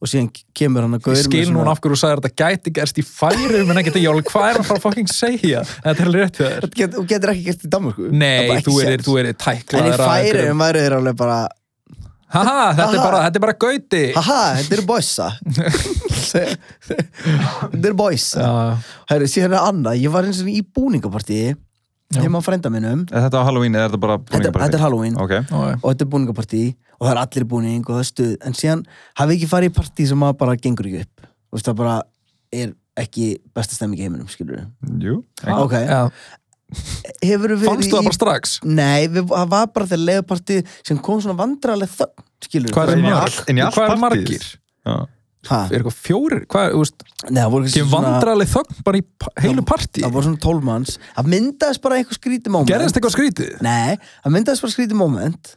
og síðan kemur hann að gaur
ég
með
skil
svona-
núna af hverju þú sagðir þetta gæti gerst í færum en ekkert ég alveg hvað er hann fara að fucking segja en þetta er alveg rétt við þér
Get- Þú getur ekki gert í Danmörku Það er bara
nei,
ekki
þú erir,
séns.
þú erir
En í
tæklaður af einhverjum-
færiðum væri þeir alveg bara
haha, þetta er
Haha.
bara, þetta er bara gauti
Haha, þetta eru boysa Þetta eru boysa
Já,
Herru, síðan er annað, ég var eins og í búningapartíi heima á frænda minnum
Er þetta á Halloween eða er þetta bara
þetta,
búningapartí?
þetta er Halloween
Ok.
já, já.
og þetta er búningapartí og það er allir í búning og það er stuð en síðan hafi ekki farið í partí sem að bara gengur ekki upp Þú veist, það bara er ekki besta stemming í heiminum skilur við
Jú.
ok,
Já,
hefur við
fannstu það bara strax
nei, við, það var bara þegar leiðupartí sem kom svona vandrarlega þögn skilur
Hvað eru
Inn í
mörg?
allt- inn í allt
Hvað eru
partíið?
margir?
Já.
Er eitthvað fjórir? Hvað er, þú veist,
nei, það voru kannski
kemur vandraleg þögn bara í pa- heilu partí?
það voru svona tólmanns það myndaðist bara eitthvað skrítið moment
Gerðist eitthvað skrítið?
nei, það myndaðist bara skrítið moment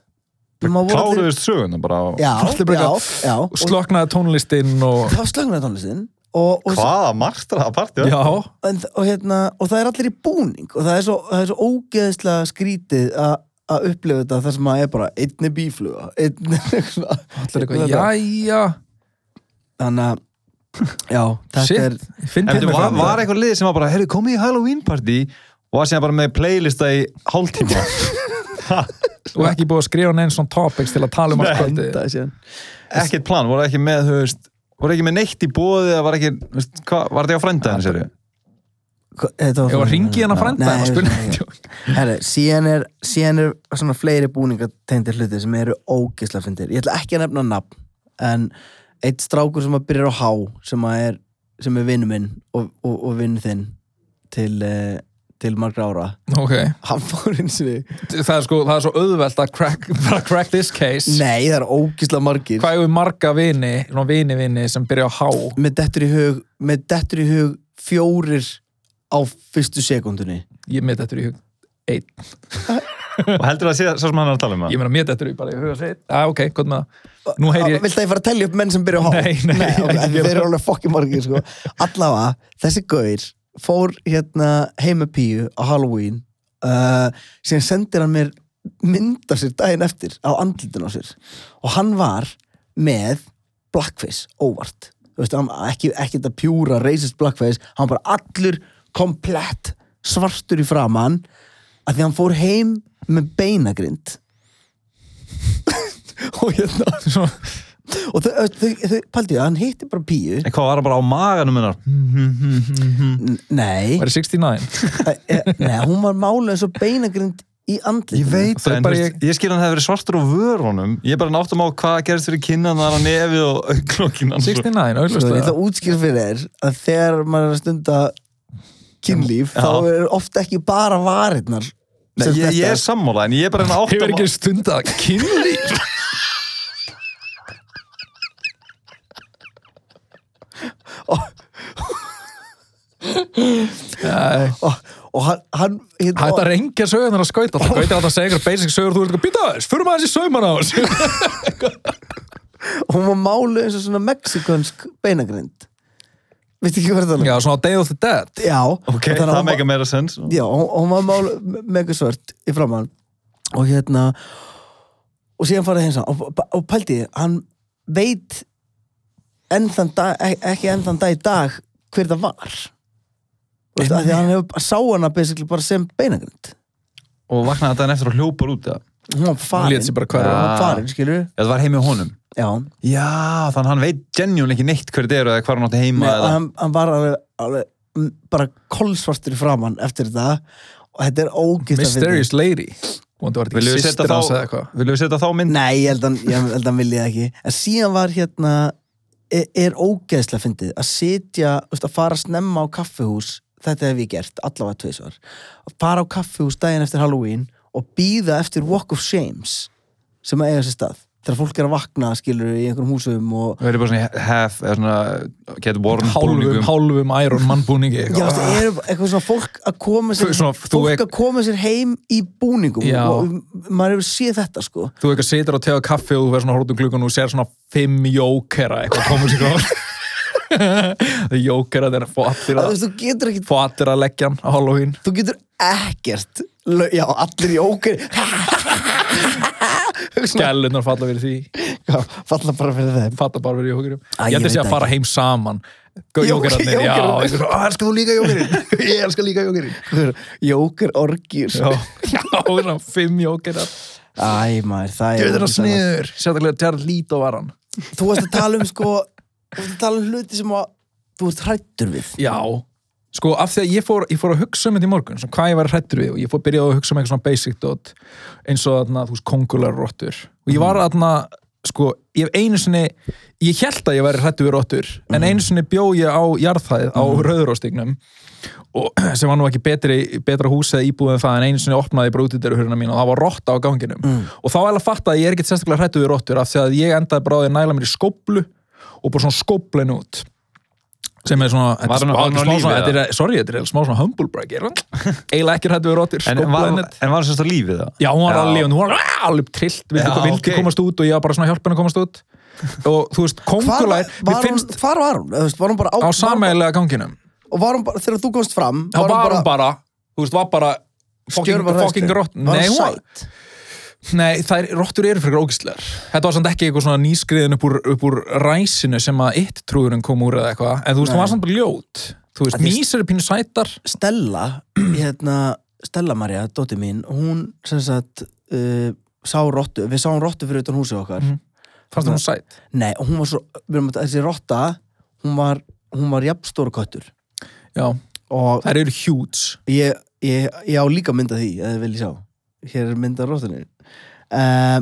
Maður voru allir-
Kláruðist söguna bara á...
já,
Allir bara
já,
eitthvað-
já,
Og
og
Sloknaði tónlistinn og...
það slögnaði tónlistin og, og
Hvaða martra að partí?
Já,
en, og, hérna, og það er allir í búning og það er svo, það er svo ógeðslega skrítið að að upplifa þetta þar sem að er bara einni bífluga einni svona
allir eitthvað, jæja,
þannig að, já, þetta er
shit, ég finn
En
til
þú
mig fyrir
var, var
þetta.
eitthvað lið sem var bara, heyrðu, komið í Halloween party og var síðan bara með playlista í hálftíma.
Og ekki búið að skrifa neinn svona topics til að tala um allt kvöldið.
þetta síðan
Ekkert plan, voru ekki með, þú veist, voru ekki með neitt í bóði eða var ekki, þú veist, hvað, var þetta á frænda hans, eru?
Hva- þetta var
Ég var
svona-
hringi hérna
Já.
frænda
Nei,
en að
svona-
spurninga.
Herri, síðan er, síðan er svona fleiri búningatendir hluti sem eru ógisla fyndir. Ég ætla ekki að nefna nafn en eitt strákur sem að byrjar á H sem að er, sem er vinnu minn og, og, og vinnu þinn til, eh, til margra ára
Ok,
hann fór eins og
það er sko, það er svo auðvelt að crack, bara crack this case.
nei það er ógisla margir
Hvað hefur marga vini, svona vini vini sem byrja á há?
með dettur í hug með dettur í hug fjórir á fyrstu sekundunni
Ég mitt þetta í hug. Eitt.
Og heldur það að sé svo sem hann er að tala um
Ég
það?
meina, mér dettur í bara í huga sitt. Já, ok, gott með það. Nú heyri ég...
Vilt að ég fara að telja upp menn sem byrja á H?
Nei, nei,
nei
ekki
okay, en
gera
Þeir eru
það.
alveg fokkin margir sko. Allavega, þessi gaur fór hérna heim með píu á Halloween uh, síðan sendir hann mér mynd af sér daginn eftir á andlutin á sér og hann var með blackface, óvart Þú veist, hann, ekki, ekki þetta pjúra racist blackface hann var bara allur komplett svartur í framann að því hann fór heim með beinagrind og hérna
Svo-
og þau, þau, þau, þau paldi það, hann hitti bara píu
En hvað var það bara á maganum hennar?
N- nei,
Var í 69?
e- e- nei, hún var mála eins og beinagrind í andlitinu
Ég
Það er
veit það, en
bara
þú veist, ég skil hann hefur verið svartur á vörunum. Ég er bara náttum á hvað gerist fyrir kinnanar og nefið og augnlokkinn hans.
69, auðvitað
Svo ég ætla að útskýra fyrir þér að þegar maður er að stunda kynlíf, þá er ofta ekki bara varirnar
Nei,
sem
Ég, ég er
þetta-
sammála, en ég er bara að
Hefur
náttum á...
ekki stundað kynlíf
og, og hann, hann hérna,
Hætt að rengja sögurnar að skauta Það skautir alltaf að segja einhver basic sögur Þú ert eitthvað, býta aðeins, fyrir maður þessi sauman á þessu
og hún var málu eins og svona mexikonsk beinagrind veistu ekki hvað það er
Já, svona á Day of the Dead
já,
ok,
þannig að
það
hún var-
meika meira sens
já, hún hún var málu mega svört í framann og hérna og síðan farið hins og, og, og pældi, ég, hann veit enn þann dag, ek- ekki enn þann dag í dag hver það var Veistu, að því að hann hefur sá hana basically bara sem beinagrind
og vaknaði þetta eftir og hljópar út eða?
hún var
Hún
farin,
lét sér bara hverfa.
hún var farin, skilur
Já, það var heimi á honum
já,
já, þannig að hann veit genjún ekki neitt hver þetta eru eða hvað hann átti heima
Nei,
eða...
hann, hann var alveg, alveg mm, bara kolsvartur í framann eftir þetta og þetta er ógist
Mysterious Lady Vonandi var þetta
viljum
ekki
við setja
systir hans eða
þá
eitthvað
viljum við setja þá mynd
Nei, ég held að ég held að hann vilja það ekki en síðan var hérna er, er ógeðslega fyndið að sitja þú veist, að fara snemma á kaffihús þetta hef ég gert, allavega tveisvar að fara á kaffihús daginn eftir Halloween og býða eftir Walk of Shames sem að eiga sér stað þegar fólk er að vakna, skilur í einhverjum húsum og
við erum bara svona í hef eða svona Kate Warren
Hálfum,
búningum.
hálfum Iron Man búningi
Já,
eitthvað.
þú veist, eru eitthvað svona fólk að koma sér,
Þú- svona- þú
fólk
ek-
að koma sér heim í búningum
Já.
og maður hefur séð þetta sko
Þú eitthvað situr og tega kaffi og þú verður svona horfðu klukkan um og þú sér svona fimm jókera eitthvað komur sér á Það jókera þeirra fó allir
að, þú,
að
veist, þú getur ekki,
fó allir að leggja hann á Halloween
þú getur ekkert lau- já, allir í óker
Gælunar falla fyrir því,
Já, falla bara fyrir þeim
falla bara fyrir jókerum
Æ,
Ég
ég
heldur sé
veit
að
ekki.
fara heim saman
Jóker-
Jókerarnir, já
jókerarnir.
eitthvað svona, "Ah, Elskar þú líka jókerinn? Ég elskar líka jókerinn
Jóker orgir
Já, já, svona fimm jókerar
Æ maður, það
Ég
er
veit það sniður, sérstaklega Gerard Lító var hann
Þú varst að tala um sko Þú varst að tala um hluti sem að þú ert hrættur við
Já, sko af því að ég fór, ég fór að hugsa um þetta í morgun svona, hvað ég var hrættur við og ég fór að byrja að hugsa um eitthvað svona basic dot eins og þarna, þú veist, kongular rottur og ég var þarna, sko, ég hef einu sinni ég held að ég væri hrættur við rottur en einu sinni bjó ég á jarðhæð á mm. og sem var nú ekki betri, betra hús eða íbúið en það en einu sinni opnaði ég bara útidyruhurina mín og það var rotta á ganginum og þá var alveg að fatta að ég er ekkert sérstaklega hrættu við rottur af því að ég endaði bara á því að næla mér í skóplu og bara svona skóplein út sem er svona, þetta
Var
er
hann-
smá-
var hann á
smá
lífi,
svona- þetta
eða?
er- sorry, þetta er eiginlega smá svona humble brag ég er eiginlega ekki hrættu við rottur
en var
skóplein
en var hann sérst á lífið það
Já, hún var alveg lífandi, hún var alveg trillt, vildi,
Já,
vildi
ok.
komast út og ég var bara svona hjálp henni að komast út og þú veist,
Hvar
kongulær,
var,
mér
var, hún,
finnst
hvar var hún? Þú veist, Var hún bara á,
á
var hún bara-
sameigilega ganginum
og var hún bara, þegar þú komst fram
þá var hún bara, þú veist, var bara fucking,
Skjörvar
fucking
hræðslu.
rott
Var hún
nei, hún var,
sæt?
nei, þær rottur eru fyrir ógistlegar þetta var samt ekki eitthvað svona nýskriðin upp úr, upp úr ræsinu sem að eitt trúðurinn kom úr eða eitthvað, en þú veist, hún var samt bara ljót þú veist,
Að því-
mís eru pínu sætar
Stella hérna, Stella Maria, dóttir mín hún sem sagt uh, sá rottu, við sáum rottu fyrir utan húsið
Mhm.
okkar
fannst
Mm.
þér hún sæt
nei, og hún var svo, við erum að þessi rotta hún var, hún var jafn stóra köttur
já,
og
þær eru hjúts
ég, ég, ég á líka mynd af því eða vil ég sjá, hér er mynd af rottunni um,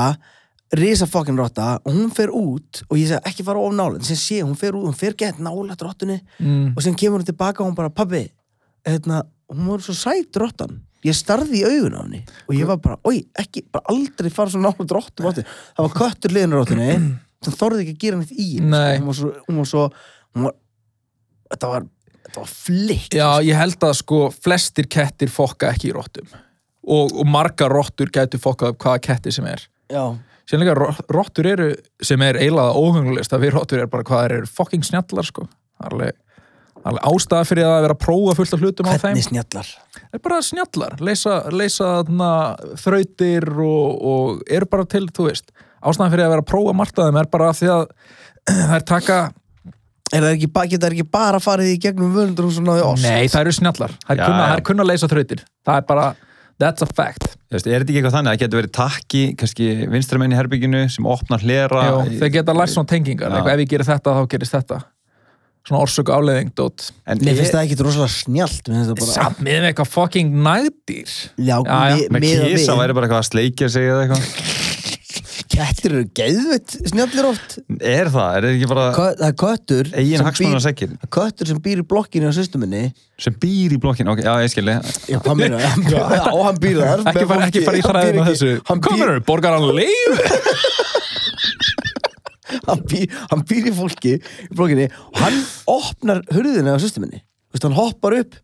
allavega risa fokkin rotta og hún fer út og ég segi ekki fara of nálægt sem sé, hún fer út, hún fer gett nálægt rottunni
mm.
og sem kemur hún tilbaka og hún bara pabbi, hérna, hún var svo sæt rottan ég starði í augun á henni og ég var bara, oi, ekki, bara aldrei fara svo náttúrulega drottu rottu það var köttur liðin rottunni sem þorði ekki að gera neitt í henni,
Nei.
sko. hún var svo, hún var svo hún var, þetta var þetta var flikt
já, ég held að sko flestir kettir fokka ekki í rottum og, og margar rottur gætu fokkað upp hvaða ketti sem er
já,
Síðan líka ro- rottur eru, sem er eiginlega óhengulist að við rottur eru bara hvað þær eru fucking snjallar sko. Það er alveg, alveg ástæða fyrir það að vera að prófa fullt af hlutum á þeim.
hvernig snjallar
Það er bara snjallar, leysa, leysa na, þrautir og, og eru bara til, þú veist. Ástæðan fyrir að vera að prófa margt af þeim er bara af því að þær taka,
er það ekki, ba- geta það ekki bara farið í gegnum völundur og svona á oss
nei þær eru snjallar, þær
Já,
kunna,
já.
þær kunna leysa þrautir. Það er bara, that's a fact.
Þú veist, er þetta ekki eitthvað þannig að það getur verið takki kannski vinstramenn í herbygginu sem opnar hlera
Já, þeir geta lært svona tengingar,
Já.
eitthvað ef ég gerir þetta þá gerist þetta. Svona orsök og afleiðing, dót.
en
Mér
ég,
finnst það ekki rosalega snjalt mér finnst það bara,
Samt miðum við eitthvað fucking nægdýr
já,
Já, já,
já,
með kísa væri bara eitthvað að sleikja sig eða eitthvað
kettir eru geðvitt snjallir oft
er það, er þetta ekki bara
Kö- það er köttur sem
eigin
býr-
hagsmunna sekkir
það er köttur sem býr í blokkinni á systuminni
sem býr í blokkin, ok, já ég skilji
já, hann býr, já, hann býr þar
Ekki
með
fara,
fólki.
ekki fara í
Hann býr
þræðin á
ekki-
þessu
hann
Hvað
býr,
mennur, borgar hann leið?
hann, býr, hann býr í fólki í blokkinni og hann opnar hurðina á systuminni Þú veist, hann hoppar upp,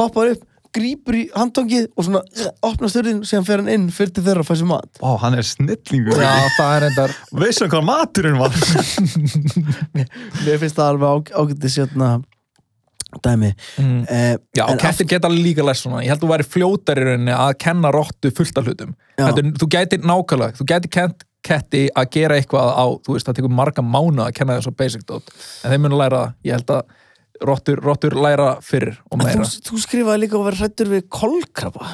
hoppar upp, grípur í handtangið og svona eh, opnar störðin, síðan fer hann inn fyrir til þeirra að fæ sér mat.
Ó, hann er snillingur.
Já, það er endar
Veistu hann hvað maturinn var?
Mér finnst það alveg á, ágætið sérna dæmi.
Mm.
Eh,
Já,
en
og kettir geta alveg líka læst svona. Ég held þú væri fljótar í rauninni að kenna rottu fullt af hlutum.
Já.
Heldur, þú gæti nákvæmlega, þú gæti kent ketti að gera eitthvað á, þú veist, það tekur marga mánu að kenna þessu basic dot. En þeim mun læra, það. ég held að rottur, rottur læra fyrir og
En
meira.
Þú, þú skrifaði líka að vera hrættur við kolkrabba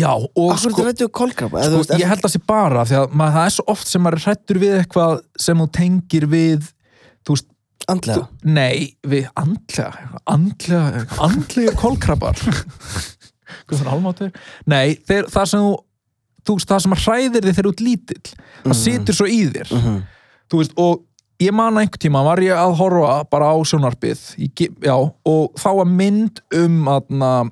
Já, og
Akkur sko,
sko,
er hrættur við kolkrabba?
sko, ég held að sé bara, því að maður, það er svo oft sem maður er hrættur við eitthvað sem þú tengir við, þú veist,
held Andlega
Nei, við andlega andlega, andlega kolkrabbar Guðan almáttur Nei, þeir, það sem þú, þú veist, það sem hræðir þig þegar þú ert lítill það situr svo í þér
Mhm.
þú veist, og ég man einhvern tíma var ég að horfa bara á sjónarpið ég, ge- já, og þá var mynd um aðna,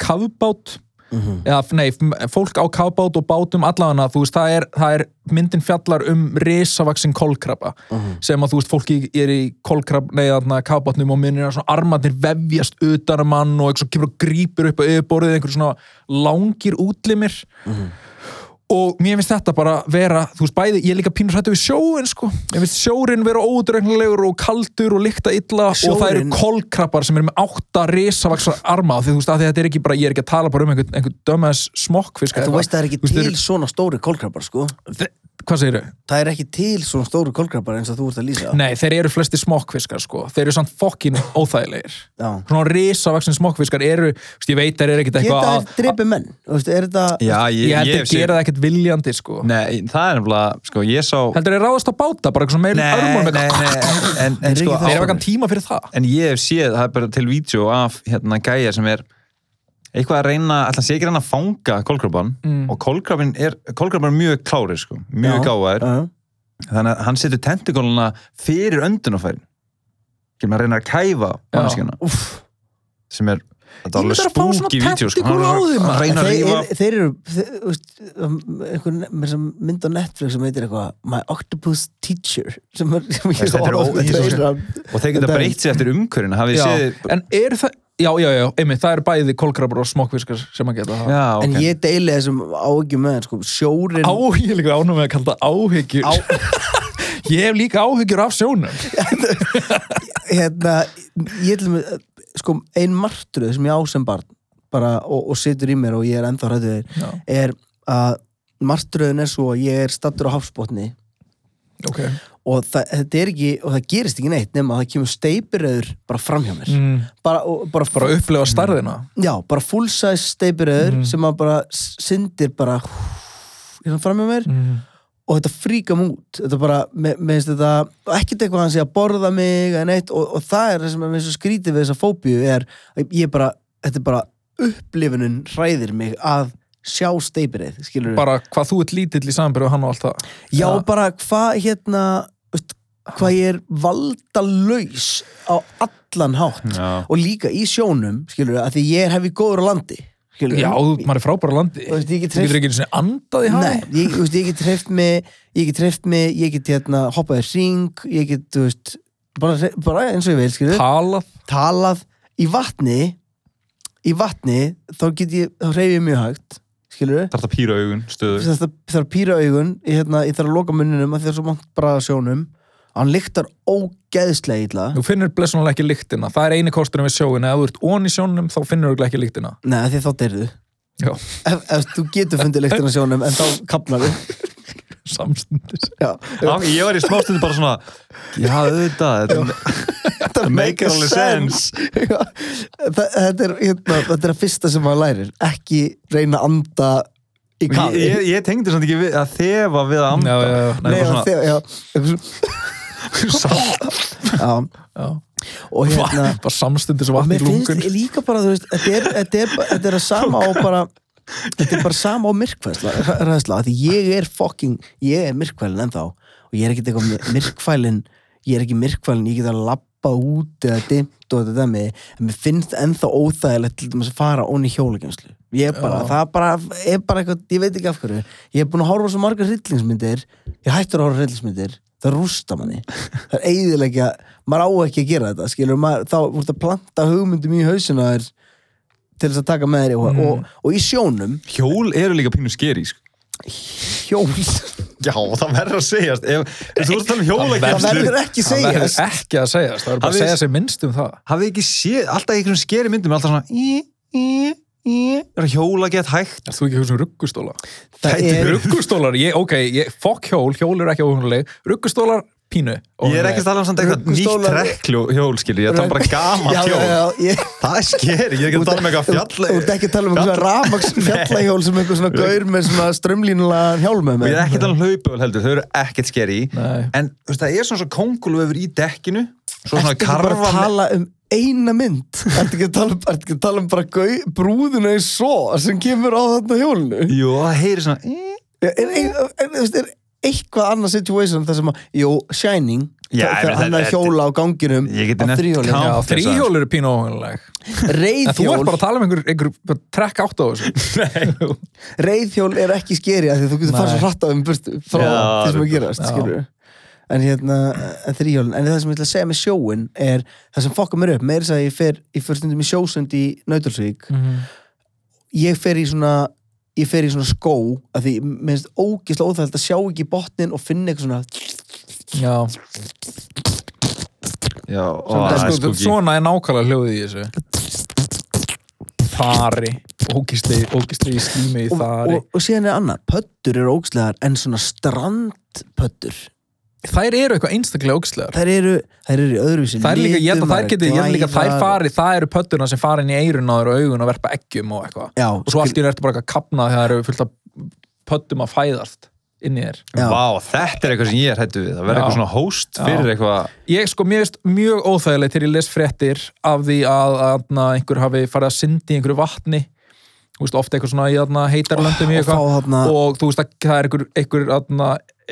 kafbát eða, nei, f- fólk á kafbát og bátum allavega, þú veist, það er, það er myndin fjallar um risavaksin kolkrabba sem að þú veist, fólki er í kolkrab, nei, þarna, kafbátnum og minnir að svona armarnir vefjast utan að mann og eitthvað svo kemur og grípur upp á yfirborðið einhver svona langir útlimir og mér finnst þetta bara vera, þú veist, bæði, ég er líka pínur hrættu við sjóin, sko, ég finnst sjórin vera ódregnlegur og kaldur og lykta illa og það eru
Sjórinn-
kolkrabbar sem eru með átta risavaksar arma, því þú veist, að þetta er ekki bara, ég er ekki að tala bara um einhvern einhver dömas smokkfisk
Þú
eða
veist það er
Þú
ekki
veist,
til svona stóri kolkrabbar sko
eitthvað. Þe- Hvað segirðu?
Það er ekki til svona stóri kolkrabbar eins og þú ert að lýsa
Nei, þeir eru flesti smokkfiskar sko Þeir eru samt fokkin óþægilegir
Já.
Svona risavaksin smokkfiskar eru veist, Ég veit þeir eru ekkit
Geta
eitthvað
þær
að-
dreipið menn? Þú veist, er þetta
Ég held þeir gera það ekkit viljandi sko
Nei, það er nefnilega, sko, ég sá...
Heldur þeir ráðast á báta, bara eitthvað svona meira örmónum
nei,
eitthvað-
nei, en,
Er
en
ekki
sko...
það-
Þeir
á-
eru eitthvað tíma fyrir það
En ég hef séð, það er bara til vídeo af hérna gæja sem er eitthvað að reyna, alltaf sé ekki að reyna að fanga kolkrabban
Mm.
og kolkrabbin er, kolkrabbin er mjög klári, sko, mjög gáðar
Já.
þannig að hann setur tentikóluna fyrir öndunafærin kemur að reyna að kæfa manneskjana
Úff.
sem er,
Ég
þetta er alveg
myndi að fá svona
spúki vídeo, sko,
tentikólu á þeim,
hann
maður.
reyna að
Þeir,
rífa
er, þeir eru þeir, þú veist, um, einhver ne- sem mynd á Netflix sem heitir eitthvað My Octopus Teacher sem er sem ég
Veist, þetta er
horfði á
ó- þetta er svo-
trailer af-
og þeir geta
Þetta er-
breytt sér eftir umhverjun hafið
já.
þið séð
En eru það Já, já, já, einmitt, það eru bæði kolkrabur og smokkfiskar sem að geta það
já,
En
ok,
ég deili þessum áhyggjum með þeim, sko, sjórin
Áhyggjur líka ánum með að kalla það áhyggjur Ég hef líka áhyggjur af sjónum
hérna, ég til með sko, ein martruð sem ég á sem barn bara, og, og situr í mér og ég er ennþá hrættu þeir
Já,
er að martröðin er svo að ég er stattur á hafsbotni
ok
og það, þetta er ekki, og það gerist ekki neitt nema að það kemur steipiröður bara framhjá mér
mm.
bara, og, bara,
Bara Mm. upplefa starðina
já, bara full size steipiröður sem að bara s- syndir bara hérna framhjá mér
mm.
og þetta fríka mig út þetta bara, me- mér finnst þetta og ekkert eitthvað hann sé að borða mig eða neitt, og, og það er það sem er mér svo skrítið við þessa fóbíu er að ég bara, þetta er bara upplifunum hræðir mig að sjá steipirið, skilur við
Bara hvað þú ert lítill í samanbyrðu hann og allt það
já,
Já.
bara hvað hérna veist, hvað ég er valdalaus á allan hátt
já,
og líka í sjónum, skilur við að því ég er hefði góður á landi skilurðu.
Já, þú- maður er frábæra landi
Þú veist, ég get
Þú getur ekki einu sinni andað í
Nei,
hann
ég, þú veist, ég get treyft mig ég get treyft mig, ég get hérna hoppað í ring, ég get, þú veist bara, hre- bara eins og ég vil, skilur
Talað
talað í vatni í vatni, þá get ég þá reyfi ég mjög hægt, skilur
þarf það pýra augun, stöður
það þarf að pýra augun ég, hérna, ég þarf að loka munninum að því það er svo mangt bara að sjónum hann lyktar ógeðslega illa
Þú finnur blessunarlega ekki lyktina Það er eini kosturinn við sjóin Ef þú ert ón í sjónum þá finnur þú ekki lyktina
Nei, af því þá deyrðu
Já.
ef, ef þú getur fundið lyktina á sjónum en þá kapnar þú
Samstundis
ég var í smástundu bara svona já, auðvitað, þetta
Þetta
make alveg sense
Já, þa- þetta er, hérna, þetta er að fyrsta sem maður lærir ekki reyna að anda í
Ég,
kafi
ég, ég tengdi samt ekki við að þefa við að anda
Já, já, já.
Nei,
Nei,
bara
svona... þegar, já, eitthvað svona-
svona,
já,
Já.
og hérna
Bara samstundis
og
vatn í
mér
lungun
finnst líka bara þú veist, þetta er, þetta er, bara- þetta er að sama og bara þetta er bara sama og myrkvæðsla ræðsla, því ég er fucking ég er myrkvælin ennþá og ég er ekkert eitthvað mi- myrkvælin ég er ekki myrkvælin, ég get að labba út eða dimmt og þetta dæmi en mér finnst ennþá óþægilegt til dæmis að fara onni hjólagemslu ég er bara,
Já.
það er bara, er bara eitthvað, ég veit ekki af hverju ég er búin að horfa á svo margar hryllingsmyndir ég hættur að horfa á hryllingsmyndir það rústa manni það er eiginlega, maður á ekki að gera þetta skilur, maður, þá voru þetta að planta hugmyndum í hausina þér til þess að taka með þér í mm. og, og í sjónum
Hjól eru líka pínu skeri, sko.
hjól,
Já, það verður að segjast. Ef, ef þú ert að tala um hjólakennslu-
það verður ekki
það verður
segjast
ekki að segjast það verður bara að
Hafið-
segja sér minnst um það
hafið ekki séð, alltaf í einhverjum skeri myndum alltaf svona í, í, í, er að hjóla gett hægt
Er þú ekki að hugsa um ruggustóla?
það er,
um
Ruggustólar, ég, ok, ég, fokk hjól, hjól eru ekki óhugnulegi, ruggustólar, pínu.
ég er ekki að tala um samt eitthvað nýtt
Ruggustólar-
trekkljó hjól skilur, ég er að tala um bara
já,
gamalt
já,
hjól
já, ég
það er skeri, ég er ekki að tala um eitthvað fjall
Þú ert ekki að tala um einhverja rafmaks fjallahjól sem einhver svona gaur með svona strömlínulegan hjálma
og ég
með.
er ekki að tala um hlaupöl heldur, þau eru ekkert skeri
Nei.
en þú veist, það er svona svo kóngulöfur í dekkinu svo
Ertu
svona
ekki bara að
karfa
tala um eina mynd? Ertu ekki að tala, um- ertu ekki að tala um bara gau, brúðuna í svo sem kemur á þarna hjólnu?
jú, það heyri svona í.
Er, er, er, er, þú veist, er eitthvað annað situation þar sem að, jú, Shining, þe-
Já, ég
þegar
meina,
hann er
þetta-
að hjóla á ganginum
Ég
á
geti nefnt
þrjóli.
Count.
Já,
Já,
þrýhjól eru pínu óhugnulegi. En þú ert bara
Reyðhjól,
að tala um einhver, einhver bara trekk átt á þessu.
reyðhjól er ekki skeri af því að þú getur
Nei.
farið svo hratt á þeim burtu frá því
Já,
sem að
reyndar.
gerast,
Já.
skilur En hérna, en þrjóli, en það sem ég ætla að segja með sjóin er, það sem fokkar mér upp, meir þess að ég fer, ég fer stundum í sjósund í Nautalsvík ég fer í svona ég fer í svona skó af því minnst ógislega óþægt að sjá ekki botnin og finna eitthvað svona
Já,
já, ó,
Ó,
það er
sko,
skúki.
svona er nákvæmlega hljóðið í þessu. Þari, ógisli, ógisli í slími í
og,
þari.
og, og síðan er annað, pöttur eru ógislegar en svona strandpöttur
Þær eru eitthvað einstaklega ógislegar.
þær eru, þær eru í öðruvísi
Það er líka, ég held
litum,
að þær
eru
geti, ég held líka að þær
glæðar.
fari, það eru pöttuna sem fara inn í eirun á þeirra augun og verpa eggjum og eitthvað.
Já,
Og svo allt í hún ertu bara eitthvað að kapna þegar það eru fullt af pöttum að fæðast inn í þér.
Já.
Vá, þetta er eitthvað sem ég er hættu við það
Já.
verður eitthvað svona host fyrir eitthvað
Ég sko mjög, mjög óþægileg til ég les fréttir af því að, að einhver hafi farið að syndi í einhverju vatni Þú veist, ofta eitthvað svona í aðna, heitarlöndum í
og
eitthvað
fá þarna
og þú veist að það er einhver einhver, aðna,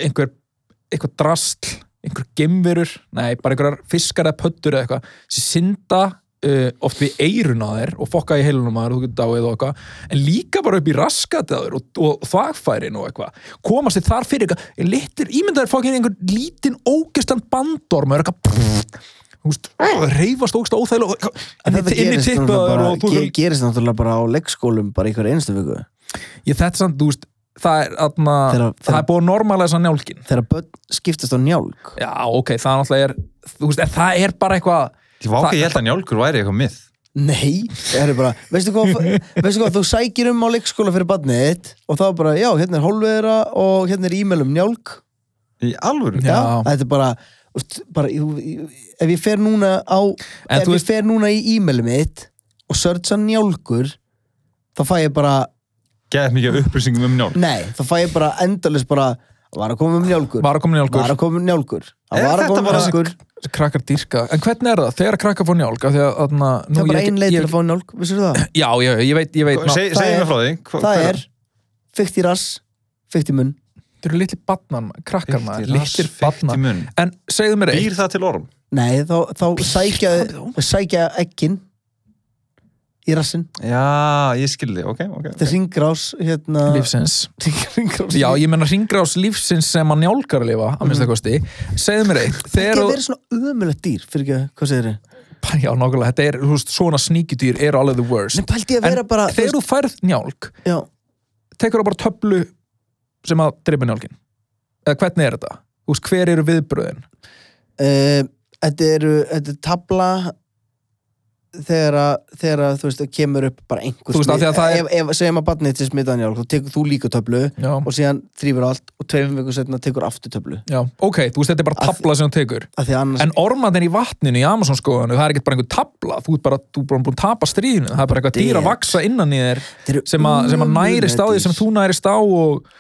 einhver, einhver drastl einhver gemverur, nei, bara einhverjar fiskar eða pöttur eða eitthvað sem synda uh, oft við eirun á þér og fokka í heilunum að þér, og þú getur dáið og eitthvað en líka bara upp í raskat að þér og, og þagfærin og eitthvað komast þér þar fyrir eitthvað, litir, ímyndaðir fokkin einhver lítinn ógestan bandorm og er eitthvað þú veist, reyfast ógsta óþægilega og eitthvað,
en
inn
þetta
í- inn í
gerist
tippu á
náttúrulega
þér
bara,
og þú
ge- gerist náttúrulega bara á leikskólum bara einhverja einstu viku
ég þetta samt, þú veist það er, atna,
Þegar-
það
þegar-
er búið að normalæsa njálkin
þegar börn skiptast á njálg
já, ok, það náttúrulega er þú veist, en það er bara eitthvað
Ég vá, ok, ég held að njálgur væri eitthvað mið
Nei, það er bara, veistu hvað, veistu hvað, þú sækir um á leikskóla fyrir badnið þitt og þá er bara, já, hérna er hólveðra og hérna er e-mail um njálk.
Í alvöru?
Já.
Þetta er bara, úst, bara, ég- ég- ef ég fer núna á,
En
ef
þú
ég
veist-
fer núna í e-mail mitt og searcha njálkur, þá fæ ég bara,
Gæðið mikið af upplýsingum um njálg
nei, þá fæ ég bara endalist bara, var að koma um njálkur,
var að koma
var
njálkur
að koma um njálkur, það
Er
var að
þetta
koma um
bara-
njálkur,
þessi krakkar dýrka, en hvernig er það þegar krakkar fór njálk, af því að atna,
það er bara
ég,
ein leið
ég,
til að fá njálk, vissir það?
já, já, ég veit, ég veit ná,
Sko, Segðu
það
mig
er-
frá því hva-
Það
hver-
er, fykt í rass, fykt í munn,
þeir eru litli badnar, krakkar maður,
Fyllt í rass,
litlir
fyllt í
badnar
munn.
en segðu mér eitt,
Býr það til orm?
Nei, þá, þá sækja,
það
sækja ekkin í rassin.
Já, ég skildi, ok, ok
Þetta er ringrás, hérna...
lífsins
Ringrás.
já, ég menna ringrás lífsins sem að njálkar lifa, að minnst það kosti segðu mér eitt,
Þetta
þegar
er
þú-
verið svona ömulegt dýr, fyrir ekki að, hvað segir þið?
já, nákvæmlega, þetta er, þú veist, svona sníkjudýr eru alveg the worst,
Nei, pældi ég að
En
vera bara... þú
þegar þú færð njálk
veist- Já,
tekur það bara töflu sem að dreipa njálkin eða hvernig er þetta? Þú veist, hver eru viðbröðin?
eh, þetta eru, þetta er tabla þegar að, þegar að, þú veist, það kemur upp bara einhver...
Þú veist, af því að það er-
Ef, ef segjum að barnið til smitaðan hjálp, þá tekur þú líka töflu
Já.
og síðan þrýfur allt og tveim vikur setna tekur aftur töflu.
Já, ok, þú veist, þetta er bara
Að-
tabla sem þú tekur
Af því að annars...
en ormandin í vatninu í Amazonskóðanu það er ekkert bara einhver tabla, þú ert bara, þú er bara búin að tapa stríðinu, það er bara eitthvað dýr að
Damn.
vaksa innan í þér
Þetta eru
sem, að, sem að
ömurleg
nærist á því
dýr.
sem þú nærist á og,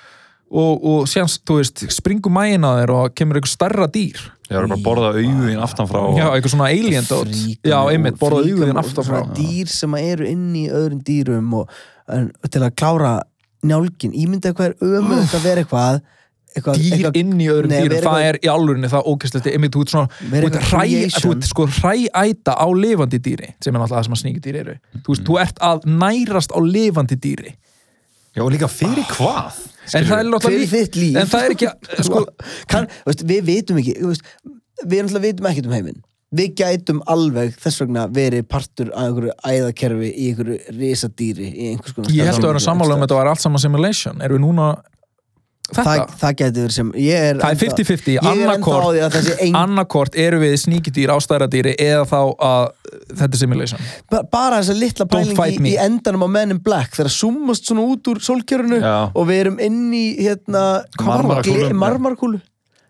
og, og síðan, þú veist, springur mæin að þér og kemur eitthvað starra dýr
Ég var bara að borða auðin aftan frá
já, eitthvað svona alien dot
Fríka
já,
mig
einmitt,
út,
borðaðu
fríka mig
yfirðin
út,
aftur
svona
frá
dýr sem eru inn í öðrum dýrum og, en, til að klára njálgin ímynda hvað er ömulegt að vera eitthvað eitthvað,
dýr
eitthvað
inn í öðrum
Nei,
dýrum,
vera
það
eitthvað-
er í alvörinu það ókestlegt, einmitt, þú ert svona
Vera
þú ert
eitthvað
hræ,
creation.
þú ert sko hrææta á lifandi dýri sem er náttúrulega það sem að sníkjudýr eru þú veist, þú ert að nærast á lifandi dýri
Já, og líka fyrir
Ah.
hvað?
en það er náttúrulega
fyrir
líf-
þitt líf
en það er ekki, sko,
kan, veist, við vitum ekki þú veist, við náttúrulega vitum ekkert um heiminn við gætum alveg þess vegna verið partur af einhverju æðakerfi í einhverju risadýri í einhvers konar
ég held að vera sammála um að þetta var allt saman simulation erum við núna þetta?
það, það gæti verið sem ég er
Það er
ennþá-
50-50,
ég er ennþá á
annarkort-
því að það sé ein,
annarkort eru við sníkidýr, ástæðradýri eða þá að þetta er simulation
ba- bara þessa litla
Don't fight
pæling
me.
í, í endanum á Men in Black þegar súmast svona út úr sólkerfinu
Já.
og við erum inn í hérna,
Hvað var það?
gler- marmarkúlu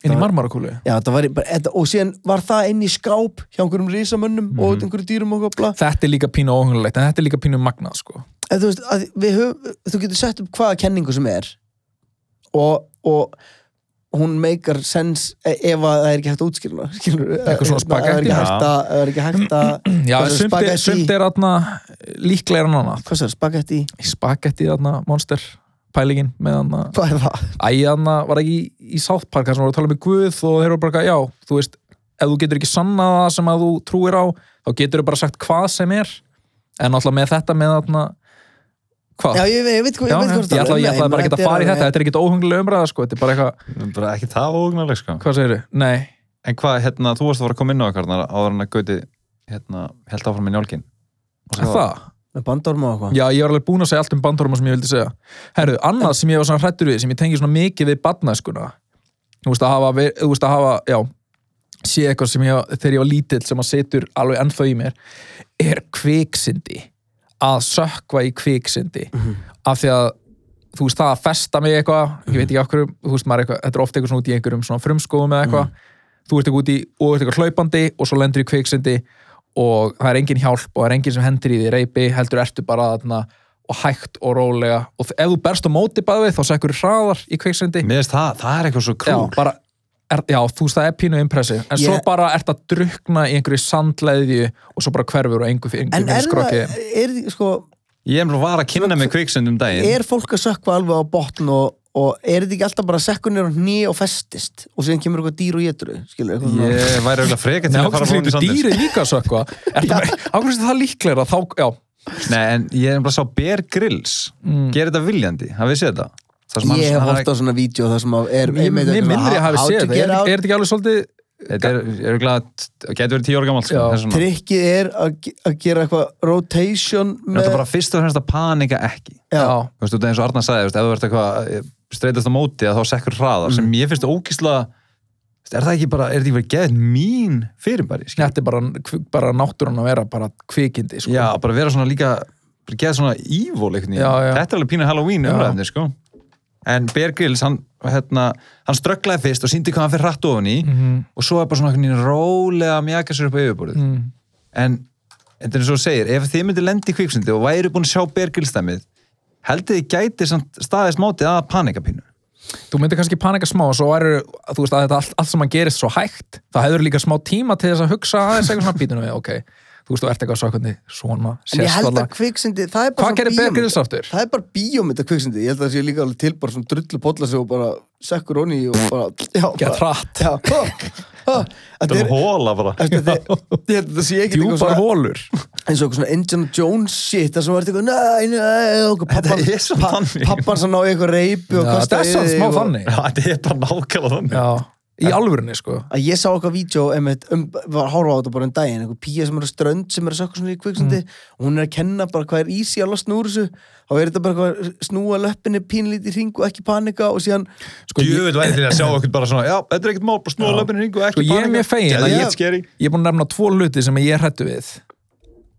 inn í marmarakúlu
Já, þetta var, í- bara, þetta, og síðan var það inn í skáp hjá einhverjum risamönnum og
Mhm.
einhverjum dýrum og eitthvað bla.
þetta er líka pínu óhengulegt, en þetta er líka pínu magnað sko.
en þú veist, að við höfum þú getur sett upp hvaða kenningu sem er og, og hún meikar sens e- ef að það er ekki hægt að útskýrna skilur,
Eitthvað svona
Hérna, það er
spagetti.
ekki hægt að, það er ekki hægt að
já,
Hvað er
sumt er,
spagetti?
sumt er atna, líklega en annað
hvað sér, spagetti,
spagetti þarna, monster pælingin með hann að
hvað er það?
æðana var ekki í, í South Park þar sem voru að tala með Guð og þeir eru bara eitthvað, já, þú veist ef þú getur ekki sannað það sem að þú trúir á þá getur þú bara sagt hvað sem er en alltaf með þetta með þarna hvað?
Já, ég, veit- ég veit hvað
Já,
veit hvað
já, Ah. ég ætla, ég ætla bara ekki að hérna. fara í þetta, þetta er ekki óhungulega umræða sko, þetta er bara eitthvað,
Bara ekki það óugnaleg, sko.
hvað segir þið? Nei,
En hvað, hérna, þú varst að fara að koma inn á eitthvað áður en að gauti, hérna, held áfram í njálgin. Og
er
svo-
það?
með bandorma og eitthvað
Já, ég var alveg búinn að segja allt um bandorma sem ég vildi segja Herru, annað sem ég var svona hrættur við sem ég tengi svona mikið við badnæskuna Þú veist að hafa, ver- þú veist að hafa já, sé eitthvað sem ég, þegar ég var lítill sem að setur alveg ennþá í mér er kviksindi að sökva í kviksindi
Mhm.
af því að þú veist það að festa mig eitthvað, ég veit ekki af hverju þú veist maður er eitthvað, þetta er ofta eitthvað svona út í einhverjum svona frumskóðum eða
Mhm.
eitthvað, þú ert eitthvað út í og ert eitthvað hlaupandi og svo lendur í kviksindi og það er engin hjálp og það er engin sem hendir í því reypi, heldur ertu bara þarna og hægt og rólega og ef þú berst á móti bæði þá sekkur hraðar í kviksindi
Mér finnst það, það er eitthvað svo
já,
krúl.
bara, er, já, þú veist það er pínu impressi en svo
Ég-
bara ert að drukna í einhverju sandleðju og svo bara hverfur og engu
en
fyrir engu
er það,
skrokki
er, sko,
Ég er bara var að kynna mig kviksund um daginn.
er fólk að sökva alveg á botn og, og er þetta ekki alltaf bara sekkunir á hný og festist og síðan kemur eitthvað dýr og getur skilur, eitthvað svona-
Ég væri auðvitað freka til
Nei,
að fara
ákveð
að fóna í
slítur
sandis.
dýrið líka sko. svo eitthvað ákveð slítur það líklega þá, já,
Nei, en ég er bara að sá Bear Grylls. Mm. Gerir þetta viljandi, hafið þið séð það? Það sem hann-
Ég hef
hann-
hótt á svona vídeo þar sem að er
mér
einmitt
mér
eitthvað
minnir ég hafi
how
séð
to
þetta
get
er,
out.
er þetta ekki alveg svolítið
Þetta er, er auðvitað, getur verið tíu ára gamalt, sko.
Já.
þess vegna.
Trikkið er að ge- að gera eitthvað rotation
En
með
Þetta er bara fyrst og fremst að panika ekki.
Já.
já,
þú veist, út af eins og Arnar sagði, þú veist, ef þú verður eitthvað eh, streitast á móti að þá sekkur hraðar
Mm.
sem ég finnst ógísla er það ekki bara, er það ekki verið geðið mín fyrirbæri, skil?
þetta er bara, bara náttúrun að vera bara kvikindi sko.
Já, bara vera svona líka bara geðið svona evil einhvern
Já, já.
veginn þetta er alveg pínu Halloween
Já.
umræðinni, sko en Bear Grylls, hann, hérna, hann strögglaði fyrst og síndi hvað hann fyrir hratt ofan í
Mhm.
og svo er bara svona einhvern veginn rólega að mjaka sér upp á yfirborðið
Mm.
en þetta er eins og þú segir, ef þið myndir lendi í kviksundi og væri búin að sjá Bear Grylls dæmið heldur þið gæti samt staðist mótið að panikapínu
þú myndir kannski panika smá og svo væri, þú veist að þetta allt, allt sem hann gerist svo hægt, það hefur líka smá tíma til þess að hugsa aðeins eitthvað svona býtunum við, ok þú veist, þú ert eitthvað svakandi, svona,
En ég held að
sérstoflega
kviksindi Það er bara
hvað
svona
gerir Bear
bíómynd.
Grylls aftur?
Það er bara bíómynd að kviksindi Ég held að það sé líka alveg til bara svona drullu bolla sig og bara sekkur honni og bara Já,
Get
bara
hratt,
Já, ha, ha. Þetta er
hóla bara
Þetta er- Ég held að það sé ekki
djúpar hólur
eins og eitthvað svona Indiana Jones shit þar sem var eitthvað Nei, nei, og pappan
Þetta er svo þannig.
Pappan sem ná eitthvað reypu og
Já,
kastaði
þetta er samt
yfir
smá
þig og-
þannig
Þetta er bara nákvæmlega þannig
já, í alvörunni sko
að ég sá eitthvað vídeo einmitt, um, var að horfa á þetta bara um daginn einhver píja sem er á strönd sem er að sökka svona í kviksandi
Mm.
og hún er að kenna bara hvað er ísi að losna úr þessu þá er þetta bara eitthvað að snúa löppinni pínlítið í hring og ekki panika og síðan
Sko, ég-
Djöfull væri til að sjá okkur bara svona Já, þetta er ekkert mál, bara snúa löpunni hringu
Sko, ég er mjög fegin að
Þetta
ég-
er skeri
ég er búin að nefna tvo hluti sem ég er hrættu við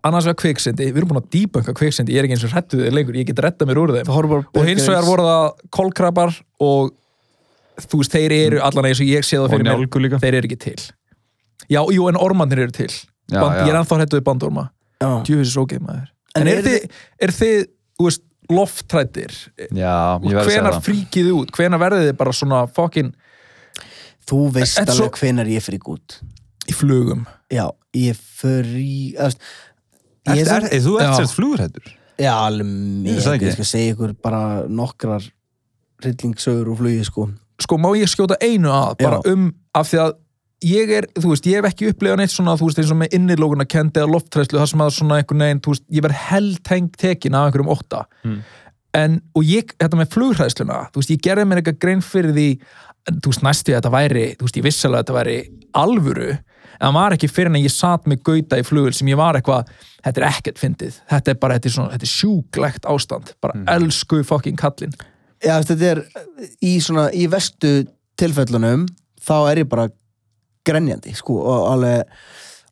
annars vegar kviksindi, við erum búin að debunka kviksindi ég er ekki eins og hrættu við þeir lengur, ég get retta mér úr þeim
þá horfum bara
og hins vegar voru það kolkrabar og þú veist, þeir eru allan eins og ég sé það
Og
fyrir mér
njálgu líka
þeir eru ekki til já, jú, en ormanir eru til
Já,
Band,
já.
ég er ennþá hrættu við bandorma
já,
djúfis er ógeð maður
En
en er,
eru
þið, er þið, þú veist, loftrættir
Já, ég verði að segja
hvenar
það
fríkið þið út, hvenar verðið þið bara svona fokkin
þú veist
En
alveg
svo-
hvenar ég fyrir gút
í flugum
já, ég fyrir eða, þú veist, ég
Ert-
er
er- er- Þú
Já.
ert sérst flugurhættur
Já, alveg
Ég
mikið,
sagði ekki.
ég skal segja ykkur bara nokkrar hryllingsögur og flugi sko
sko má ég skjóta einu að bara um af því að ég er, þú veist, ég hef ekki upplegað neitt svona, þú veist, eins og með innilókuna kendi eða loftræslu, það sem að svona einhvern veginn, þú veist, ég verð held tekin af einhverjum ótta en, og ég, þetta með flughræðsluna þú veist, ég gerði mér eitthvað grein fyrir því en, þú veist, næstu ég að þetta væri, þú veist, ég vissalega að þetta væri alvöru en það var ekki fyrir en ég sat með gauta í flugul sem ég var eitthvað, þetta er ekkert fyndið þetta er bara, þetta er svona, þetta er sjúklegt ástand bara elsku fucking kallinn
Já, þú veist, þetta er í svona, í vestu tilfellunum þá er ég bara grenjandi, sko, og alveg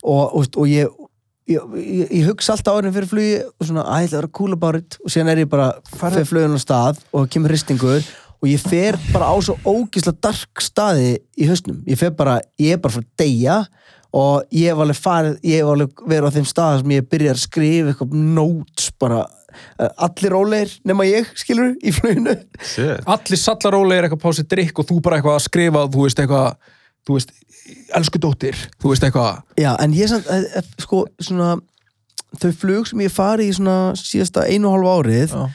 og, og, og ég, ég, ég, ég hugsa alltaf áriðin fyrir flugi og svona, að ég ætla að vera cool about it og síðan er ég bara, fyrir flugin á stað og kemur hristingur og ég fer bara á svo ógislega dark staði í hausnum, ég fer bara, ég er bara fyrir deyja og ég hef alveg farið, ég hef alveg verið á þeim stað sem ég byrja að skrifa eitthvað notes bara, eh, allir rólegir nema ég, skilur, í fluginu
Shit.
allir sallarólega er eitthvað pásið drikk og þú bara eitthvað að skrifa, þú veist eitthvað þú veist, elsku dóttir þú veist eitthvað,
Já, en ég samt, eh, eh, sko, svona þau flug sem ég fari í svona síðasta einu og hálfa árið,
Já.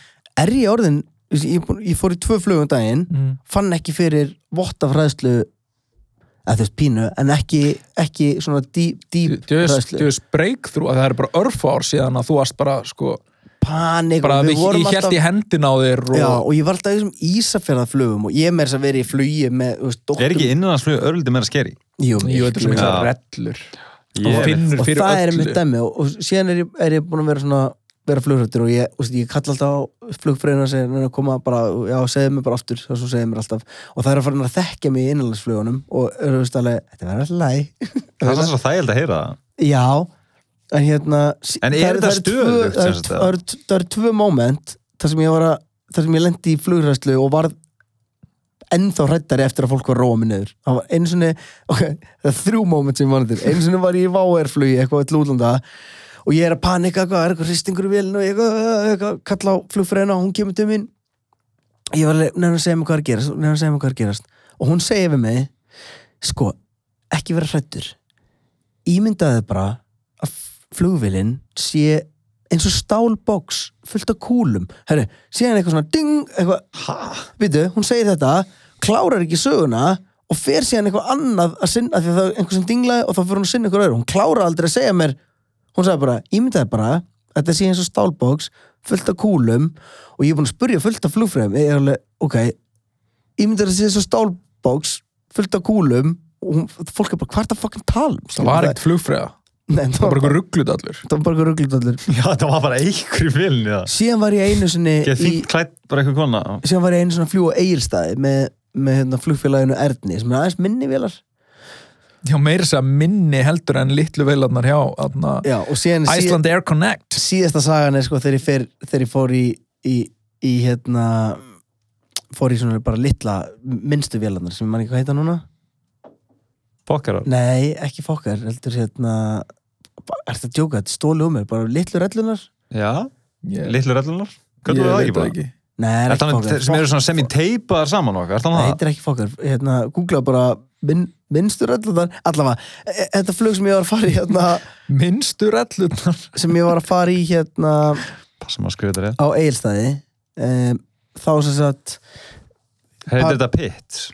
er ég orðin þú veist, ég, er búinn- ég fór í tvö flugum daginn
Mm.
fann ekki fyrir votta fræðslu eða þess pínu en ekki, ekki svona dýp, dýp
djöðs
fræðslu,
djöðs breakthrough að það er bara örf ár síðan að þú varst bara sko,
panik
bara
og
við, ég held í hendin á þér og,
Já, og ég var alltaf í þessum ísafjörðaflugum og ég er með þess að vera í flugi með, þú veist, dóttum
Er ekki innanlandsflug örlítið meira skeri?
Jú,
jú, þetta er svo
miklu.
mikla
Já.
rellur
Ég
og finnur
og
fyrir
það er mitt
öllu
dæmi og, og síðan er ég, er ég búin að vera svona vera flugrættur og ég, og ég kalla alltaf á flugfræðina og segja, neina koma bara já, segðu mér bara aftur, það svo segðu mér alltaf og það er að fara að þekkja mig í innanlandsflugunum og eru þú veist alveg, þetta verður alltaf læg
Það er svo þægild að heyra það.
já, en hérna sí-
En er
það eru-
þetta
það eru tvö-
stöðugt,
það
sem
eru-
sagt,
það eru- það eru tvö moment þar sem ég var að, þar sem ég lendi í flugrættu og varð ennþá hrættari eftir að fólk var að róa mig niður það var einu sinni, ok, það er þrjú moment sem ég manið til, einu sinni var ég í váerflugi eitthvað öll útlanda og ég er að panika eitthvað, er eitthvað hristingur í vélinu og ég eitthvað, eitthvað, eitthvað, kalla á flugfræðina og hún kemur til mín ég var alveg, nefnir að segja mig hvað er að gerast nefnir að segja mig hvað er að gerast og hún segir við mig, sko ekki vera hrættur ímyndaði bara að flugvélin sé eins og stálboks fullt af kúlum herru, síðan eitthvað svona ding eitthvað, Vitu, hún segir þetta, klárar ekki söguna og fer síðan eitthvað annað að sinna af því að það er einhver sem dinglaði og þá fyrir hún að sinna ykkur öðru. Hún klárar aldrei að segja mér hún sagði bara, ímyndaði bara að þetta sé eins og stálboks, fullt af kúlum og ég er búin að spurja fullt af flugfræðum ég er alveg, ok ímyndaði að sé eins og stálboks, fullt af kúlum og hún, fólk er bara, hvað er það fucking tala um?
það var ekkert flugfræða,
Nei, það
það var bara
var
eitthvað rugglut allur
bara eitthvað rugglutallir
Já, það var bara einhverjum vilni það.
síðan var ég einu sinni
Ég
í,
fínt klætt bara eitthvað kona.
síðan var ég einu svona að fljúa eigilstaði með, með hérna, flugfélaginu Erni sem er aðeins minni vélar
já, meira þess að minni heldur en litlu veilarnar hjá aðna,
Já, og síðan er síð,
Iceland Air Connect
síðasta sagan er sko þegar ég, fer, þegar ég fór í, í, í hérna fór í svona bara litla minnstu vélarnar sem ég man ekki hvað heita núna
Bokkarar.
Nei, ekki fokkar, heldur hérna Er þetta djóka, þetta er stóli um mér bara litlu rellunar?
Já,
ég,
litlu rellunar. Hvernig
ég
var það
veit
ekki bara?
ekki
Nei, er
Er
ekki
það með
fokkar
þeir sem eru svona semi-teipaðar saman og eitthvað?
Nei,
Ah.
Er það það?
þetta er ekki fokkar hérna, Google bara minn, minnstu rellunar Allavega, e- e- þetta flug sem ég var að fara í hérna,
minnstu rellurnar
sem ég var að fara í hérna
Passa maður að skrifa þetta rétt.
á Egilstaði um, þá sem sagt
Heitir þetta Pitt?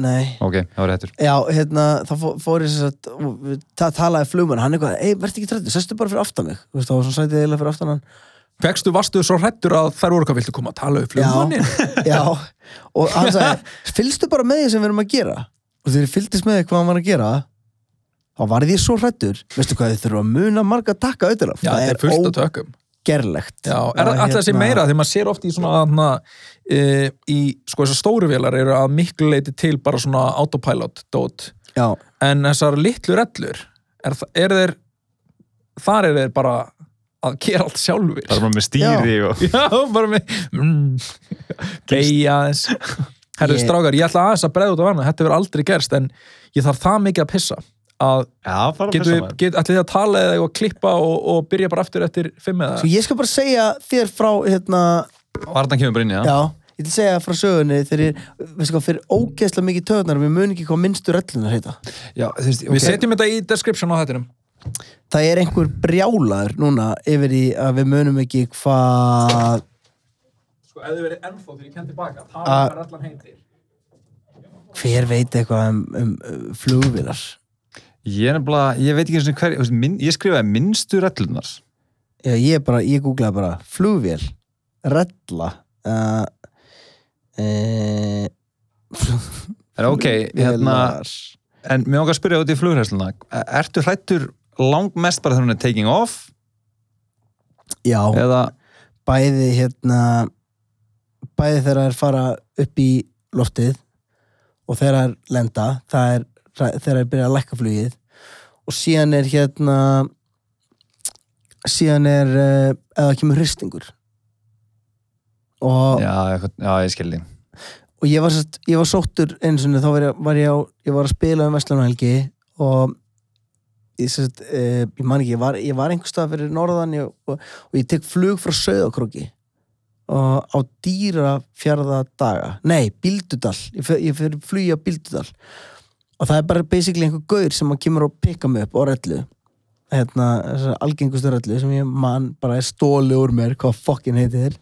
nei,
Ok, það var réttur.
já, hérna þá fó- fór ég sem sagt og við- ta talaði flugmann, hann eitthvað, ei, verð ekki trættu, sestu bara fyrir aftan mig, þú veist, þá var svona sætið eiginlega fyrir aftan hann
Fekstu, varstu svo hrættur að þær voru hvað viltu koma að tala um flugmannin?
já, og hann sagði, fylgstu bara með því sem við erum að gera og þegar ég fylgdist með því hvað hann var að gera þá varð ég svo hrættur veistu hvað, þið þurfa að muna marga takka auðvitað,
Já, þetta er fullt að tökum.
ógerlegt
Já, hérna. er það alltaf
hérna-
þessi meira, þegar maður sér oft í svona, hana, e, í, sko þessar stóru vélar eru að miklu leiti til bara svona autopilot-dót,
já,
en þessar litlu rellur, er, þa- er þeir, þar er þeir bara að gera allt sjálfur.
Það er bara með stýri og...
Já, bara með, mm, beigja þess. Herru,
Ég-
strákar, ég ætla aðeins að bregða út af hana, þetta hefur aldrei gerst, en ég þarf það mikið að pissa að
Já, bara
Getum við,
maður.
get, ætlið þið að tala eða eitthvað klippa og, og byrja bara aftur eftir fimm eða?
svo Sko, ég skal bara segja þér frá, hérna,
Vartan kemur bara inn í það.
Já, ég til að segja frá sögunni þegar ég, veistu hvað, fyrir ógeðslega mikið töðnar við mun ekki hvað minnstu rellunar heita
Já, þú veist,
Við setjum þetta í description á þettinum.
Það er einhver brjálaður núna yfir í að við munum ekki hvað
Sko, ef þið verið ennþá þegar ég kenn tilbaka, það
Ah. er
allan heitir.
hver veit eitthvað um, um, um flugvilar
Ég er nefnilega, ég veit ekki eins og hver, þú veist, minn, ég skrifaði minnstu rellunar.
Já, ég bara, ég googlaði bara flugvél rella uh, uh,
En ok, hérna, en mér okkar að spyrja út í flugræsluna, ertu hrættur langmest bara þegar hún er taking off
já,
eða,
bæði hérna bæði þegar þær fara upp í loftið og þegar þær lenda það er þegar þær byrja að lækka flugið og síðan er hérna síðan er eh, ef það kemur hristingur og,
já, eitthvað, já, ég skildi
og ég, var, sest, ég var sóttur eins og þá var ég, var ég, á, ég var að spila um Vestlunahelgi og ég, sest, eh, ég man ekki, ég var, ég var einhver stað fyrir norðan ég, og, og ég tek flug frá Söðakróki og á dýra fjárða daga nei, Bildudal, ég fer, ég fer flugja á Bildudal og það er bara basically einhver gaur sem að kemur og pikka mig upp á rellu hérna, þessar algengustu rellu sem ég man bara er stóli úr mér hvað fokkin heitir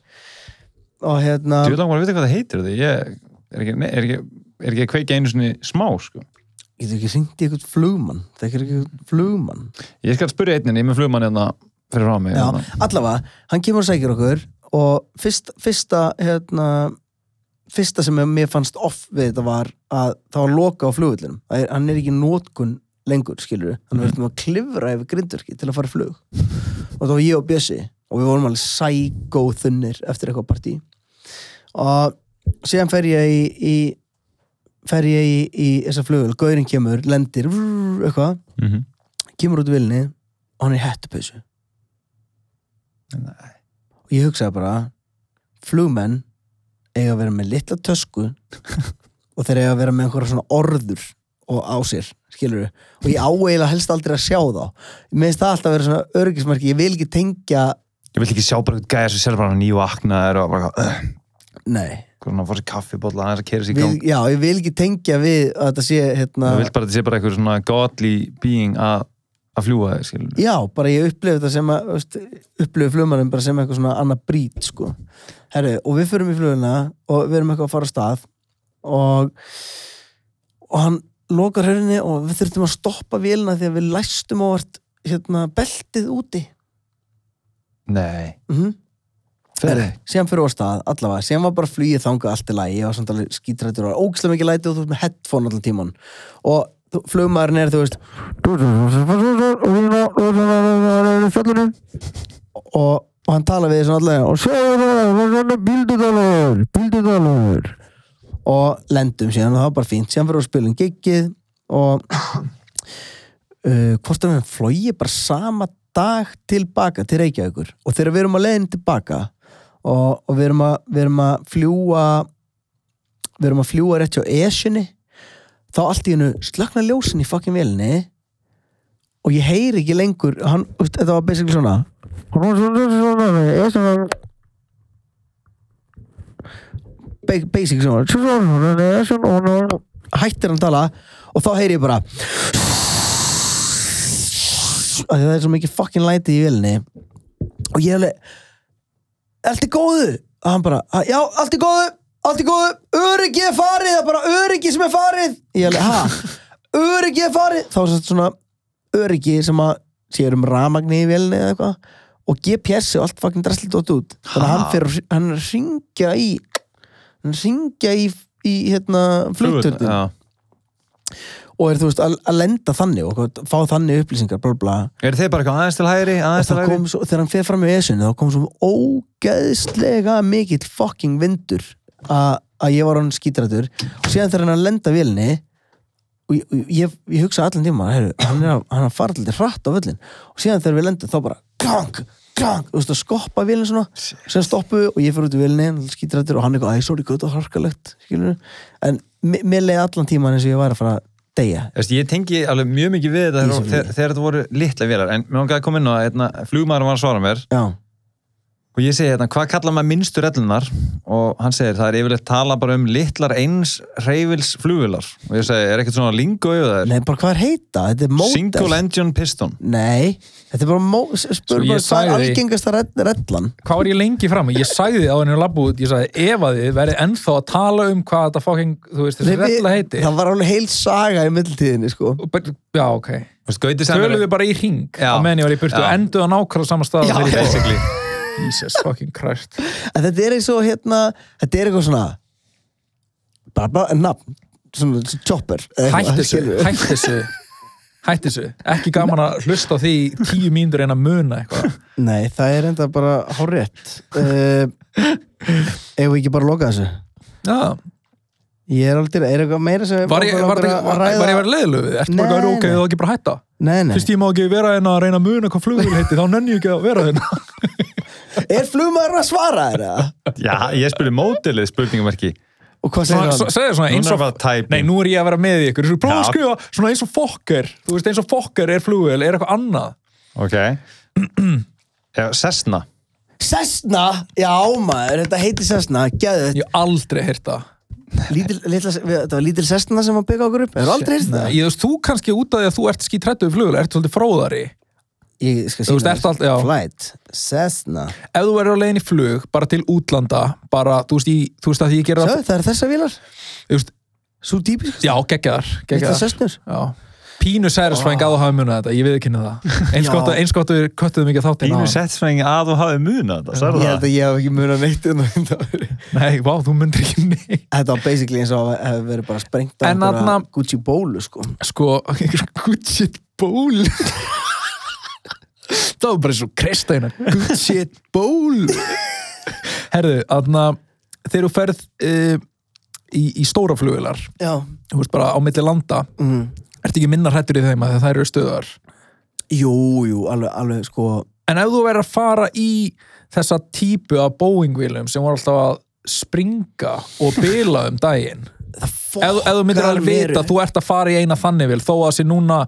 og hérna
Þú veit langar að vita hvað það heitir því, ég er ekki, nei, er ekki, er ekki að kveika einu sinni smá, sko.
Getur ekki ringt í eitthvað flugmann Þekkir ekki eitthvað flugmann
Ég skal spyrja einnin, ég er með flugmann hérna fyrir frá mig.
Já,
hérna.
allavega, hann kemur og sækir okkur og fyrst, fyrsta hérna, fyrsta sem mér fannst off við þetta var að það var loka á flugullinum Það er, hann er ekki í nótkun lengur, skilur við hann verður mm. að klifra yfir grindverki til að fara í flug og það var ég og Bjössi og við vorum alveg psycho þunnir eftir eitthvað partí og síðan fer ég í, í fer ég í, í þessa flugul, gaurinn kemur, lendir vrrr, eitthvað,
Mhm.
kemur út vilni og hann er í hettupausu
Nei.
og ég hugsaði bara flugmenn eiga að vera með litla tösku og þeir eiga að vera með einhverja svona orður og á sér, skilur og ég á eiginlega helst aldrei að sjá þá mér finnst það alltaf að vera svona örgismarki ég vil ekki tengja,
Ég vil ekki sjá bara eitthvað gæja sem sér bara nýju aknaðir og bara, uh,
nei
hvernig hann fór sér kaffibólla, hann er að kera sér í
vil,
gang.
já, ég vil ekki tengja við að þetta sé hérna,
Þú vilt bara að þetta sé bara eitthvað svona godly being að að fljúa þig, skilur.
já, bara ég upplifi þetta sem að, veist, upplifi flugmannum bara sem eitthvað svona annað brít, sko Herru, og við förum í fluguna og við erum eitthvað að fara á stað og og hann lokar hörunni og við þurftum að stoppa vélina því að við læstum á vart hérna, beltið úti
Nei.
mm
Fyrir.
síðan fyrir á stað, allavega, síðan var bara flugið þangað allt í lagi, ég var samt alveg skítrættur og ógislega mikið læti og þú veist með headphone allan tíman og þú- flugmaðurinn er, þú veist og, og hann talar við því svona allavega og sjáðu hérna bíldudalur bíldudalur og lendum síðan og það var bara fínt síðan fyrir að spila um giggið og uh, hvort að við flóið bara sama dag tilbaka til Reykjavíkur og þegar við erum að leiðin tilbaka og, og við, erum að, við erum að fljúa við erum að fljúa rétt hjá Esjunni þá allt í hennu slakna ljósin í fucking velinni og ég heyri ekki lengur hann, veist, þetta var basically svona Ba- basic svona hættir hann að tala og þá heyri ég bara að það er svo mikið fucking læti í vilni og ég er alveg allt í góðu og hann bara, "Ah, já, allt í góðu allt í góðu, öryggi er farið það er bara öryggi sem er farið ég er alveg, ha, öryggi er farið þá er þetta svona öryggi sem að séur um ramagni í vilni eða eitthvað og GPS og allt fucking drastlið dótt út þannig að
Ha?
hann fyrir, hann er að ringja í hann er að ringja í, í hérna, flugturðin
Já.
og er þú veist að, að lenda þannig og hvað- fá þannig upplýsingar bla bla
Er þeir bara eitthvað aðeins til hægri,
og
aðeins til
það
hægri?
kom svo, þegar hann fer fram í esinu þá kom svo ógeðslega mikill fucking vindur að að ég var hann skítrættur og síðan þegar hann er að lenda vélni og ég, og ég, ég hugsa allan tíma heru, hann, er að, hann er að fara alltaf hratt á völlin og síðan þegar við lendum þá bara klang, klang, þú veist að skoppa vélni svona sem stoppu og ég fyrir út í vélni skítrættur og hann eitthvað, æ, sorry, gott og harkalegt skilur en mi- mér leiði allan tíma eins og ég væri að fara að deyja
Veist, ég tengi alveg mjög mikið við
Í
þetta þegar,
þessu
þegar, þegar þetta voru litla vélar en mér vangaði að koma inn á það, hérna, flugmaður var að svara mér
já,
og ég segi hérna, hvað kallar maður minnstu rellunar og hann segir, það er yfirleitt tala bara um litlar eins reyfils flugvilar og ég segi, er ekkert svona lingo yfir það
nei, bara hvað er heita þetta er mótel
single engine piston
Nei, þetta er bara mó- spurðu
Sko,
bara
ég
hvað er
sagði því-
algengasta redd- rellan
Hvað var ég lengi fram? Ég sagði þið á henni labbúð, ég sagði ef að þið verið ennþá að tala um hvað þetta fucking, þú veist, þessi
Nei, við-
rella heiti.
Það var alveg heil saga í middiltíðinni sko.
Og bara- Já, ok.
Þú veist, Gauti sem
Töluðu bara í ring
Já.
á meðan ég var í burtu
Já.
og enduðu á nákvæmlega sama stað.
Já,
þegar ég fór.
basically
Jesus fucking Christ
En þetta er eins og hérna, þetta er eitthvað svona bara, bara, nafn svona chopper eða
hætt
eitthvað,
þessu,
skilurðu.
hætt þessu hætt þessu, ekki gaman að hlusta á því í tíu mínútur en að muna eitthvað
Nei, það er enda bara hárétt uh, Ef við ekki bara loka þessu
Já,
Ég er aldrei, er eitthvað meira sem
var ég,
okkur
var,
langar
var,
að
var,
ræða?
var ég verið leiðilegu við, ertu bara
Nei,
að vera ok
nei.
og ekki bara hætta
Nei, nei,
fyrst ég má ekki vera en að reyna að muna hvað flugvél heiti, þá nenni ég ekki að vera hérna. þeirna
er flugmaður að svara þér eða?
Já, ég spurði mótilið spurningamarki.
Og hvað segir
Svona-
hann?
svo- segðu svona
Núna
eins
er
og
bara tæping.
nei, nú er ég að vera með í ykkur Svo prófa að
Já.
skrifa svona eins og fokker þú veist eins og fokker er flugvél, er eitthvað annað
Ok. Já, Cessna.
Sessna, já maður, þetta heiti Sessna, gæðu
ég hef aldrei heyrt það
Þetta var lítil Sessna sem að byggja okkur upp, hefur aldrei hýrt það?
ég, þú veist, þú kannski út af því að þú ert skítrættu við flugvél ert svolítið fróðari
Ég skal
Þú veist,
sýna
ertu allt- já.
Flight, Sessna
ef þú verður á leiðin í flug, bara til útlanda bara, þú veist, í, þú veist að því ég gera
Sjáðu, það er þessa vilar,
þú veist,
svo típisk
já, geggjaðar
Þetta
geggjaðar,
Sessnur
já Pínu særisfræðing að þú hafi munið þetta, ég viðkynna það Eins
Já.
gott- Eins gott að við köttuðum ekki þátt
Bínu settsfæðing að og hafið muna þetta,
Ég
sagði það?
held að ég hef ekki munið að neitt um það.
Nei, vá, þú myndir ekki neitt
Þetta var basically eins og að hefur verið bara sprengt á
En
einhverja
þarna-
Gucci bólu sko
sko Gucci ból það var bara svo kristæna Gucci ból herðu, aðna þegar þú ferð uh, í, í stóra flugular
Já
þú veist bara á milli landa
mm.
ertu ekki minna hrættur í þeim að það eru stöðar
Jú, jú, alveg, alveg sko
en ef þú verður að fara í þessa típu af Boeing-vílum sem voru alltaf að springa og bila um daginn
Það
ef, þú- ef þú myndir alveg vita að þú ert að fara í eina þannig vil þó að sé núna,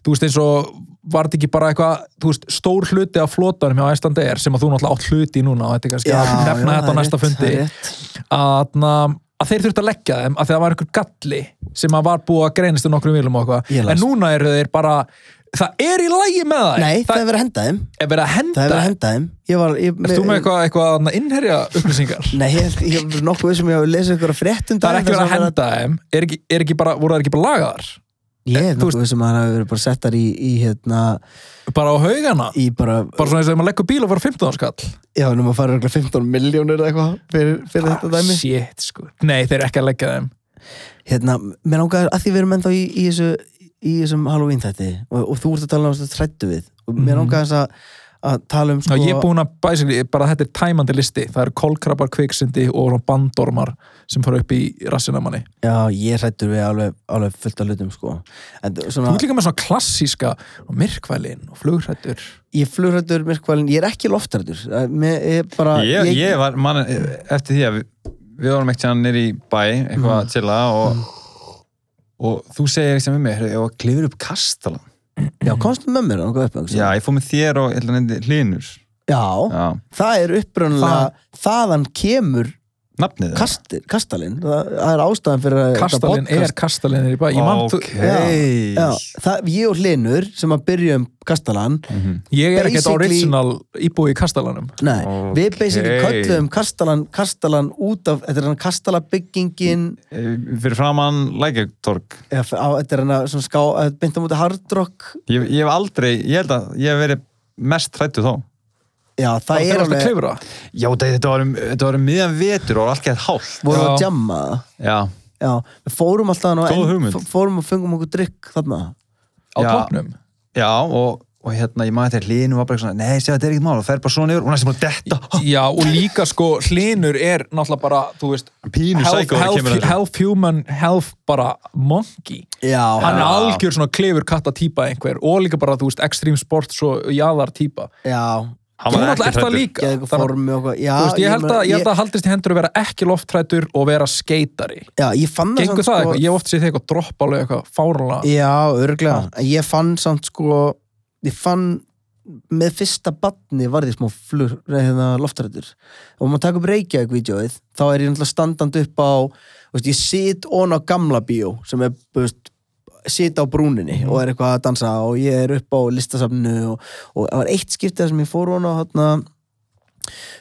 þú veist eins og var þetta ekki bara eitthvað, þú veist stór hluti af flotanum hjá Æslandeir sem að þú náttúrulega átt hluti í núna og þetta er kannski að nefna þetta á næsta fundi að, na, að þeir þurftu að leggja þeim að það var einhver galli sem að var búið að greinast um nokkrum vilum og
Ég
eitthvað
las-
en núna eru þeir bara, það er í lægi með það
Nei, það hefur verið að henda þeim
er verið að
Það
henda
hefur verið að henda þeim Ég var ég,
Ert þú með eitthvað, eitthvað að innherja upplýsingar?
Nei, ég held- ég hef nokkuð sem ég hef lesið ykkur að fréttum
það
daginn
er ekki
þar
verið að
sem
henda þeim er ekki, er ekki bara, voru það ekki bara lagaðar?
Ég hef
Þú
nokkuð sem að það hefur verið bara settar í, í hérna
Bara á haugana?
Í bara,
Bara svona eins og þegar maður leggur bíl og fara 15 skall?
já, nema að fara örugglega 15 miljónir eða eitthvað fyrir, fyrir þetta dæmi
Shit, sko. Nei, þeir eru ekki að leggja þeim.
hérna, mér ángaður að því við erum ennþá í, í, þessu, í þessum Halloween þætti og, og þú ert að tala um þetta trættu við og mér ángaður að, að tala um
Ná,
sko,
ég er búin að, basically, bara þetta er tæmandi listi. Það eru kolkrabbar, kviksindi og svona bandormar sem fara upp í rassinamanni.
já, ég trættur við alveg, alveg fullt af hlutum sko. en þú-
Þú
svona,
ert líka með svona klassíska og myrkvælin og flugrættur.
ég er flugrættur myrkvælin, ég er ekki loftrættur Það- mér er bara
Ég, ég var, man, eftir því að við, við vorum ekkert hann nýri í bæ, eitthvað
Mm.
að chilla og, og þú segir eitthvað með mig, heyrðu, ég var að klifur upp kastalan.
já, komstu með mér ángaður upp
Já, ég fór með þér og eitthvað nefndi hlinur.
já,
Já,
það er upprunnulega
Það-
þaðan kemur
nafnið það.
kastir, kastalinn það, það er ástæðan fyrir að þetta
Kastalin er
podcast-
kastalin er í bæ. Ég, man,
Ok.
okay.
Já, það, ég og Hlinur sem að byrja um kastalann
ég er ekkert
Basically-
original íbúi í kastalanum.
Nei, við
Ok.
basically kölluðum kastalan, kastalan út af, þetta er hann kastalabyggingin
Eh, Fyrir framann lækjartorg.
eða f- á, þetta er hann að svona ská, beint á móti hardrock
Ég, ég hef aldrei, ég held að ég hef verið mest hrættu þá.
já, það,
Það
er
er alltaf
alveg,
klifra.
Já, það- þetta var, um- þetta var um miðjan vetur og var allt gett hálft.
vorum
Já.
að jamma það.
Já,
já, við fórum alltaf hann og
Góð hugmynd.
f- fórum og fengum okkur drikk þarna
Á
Já.
topnum.
já og, og hérna, ég maður þetta hlinu var bara eitthvað svona, nei, segja þetta er ekkert mál og fer bara svona yfir og hún er sem bara detta.
Já, og líka sko, hlinur er náttúrulega bara, þú veist,
Pínu
health,
psycho þegar kemur að
health,
þessu.
health human, health bara monkey.
já,
hann er
Já.
algjör svona klefur katta típa einhver og líka bara, þú veist, extreme sports og jaðar típa.
já
Hann
Þú
var
náttúrulega
ekkert
ert það
hræddur.
líka.
geðu ykkur
Þannig-
fórum með okkur já,
Þú veist, ég held,
meina-
að, ég held að haldist í hendur að vera ekki loftrætur og vera skeitari.
já, ég fann það
Gengur
samt,
það
sko-
eitthvað? Ég hef oft sé þig eitthvað droppa alveg eitthvað fárlega.
Já, örglega. Ég fann samt sko, ég fann með fyrsta batni var ég smá flur, hérna, loftarættur og maður taka upp Reykjavík vídeoið þá er ég náttúrulega standand upp á þú veist, ég sit on á gamla bíó sem er, þú veist, sit á brúninni
Mhm.
og er eitthvað að dansa og ég er upp á listasafnu og, og það var eitt skiptið sem ég fór on á hérna,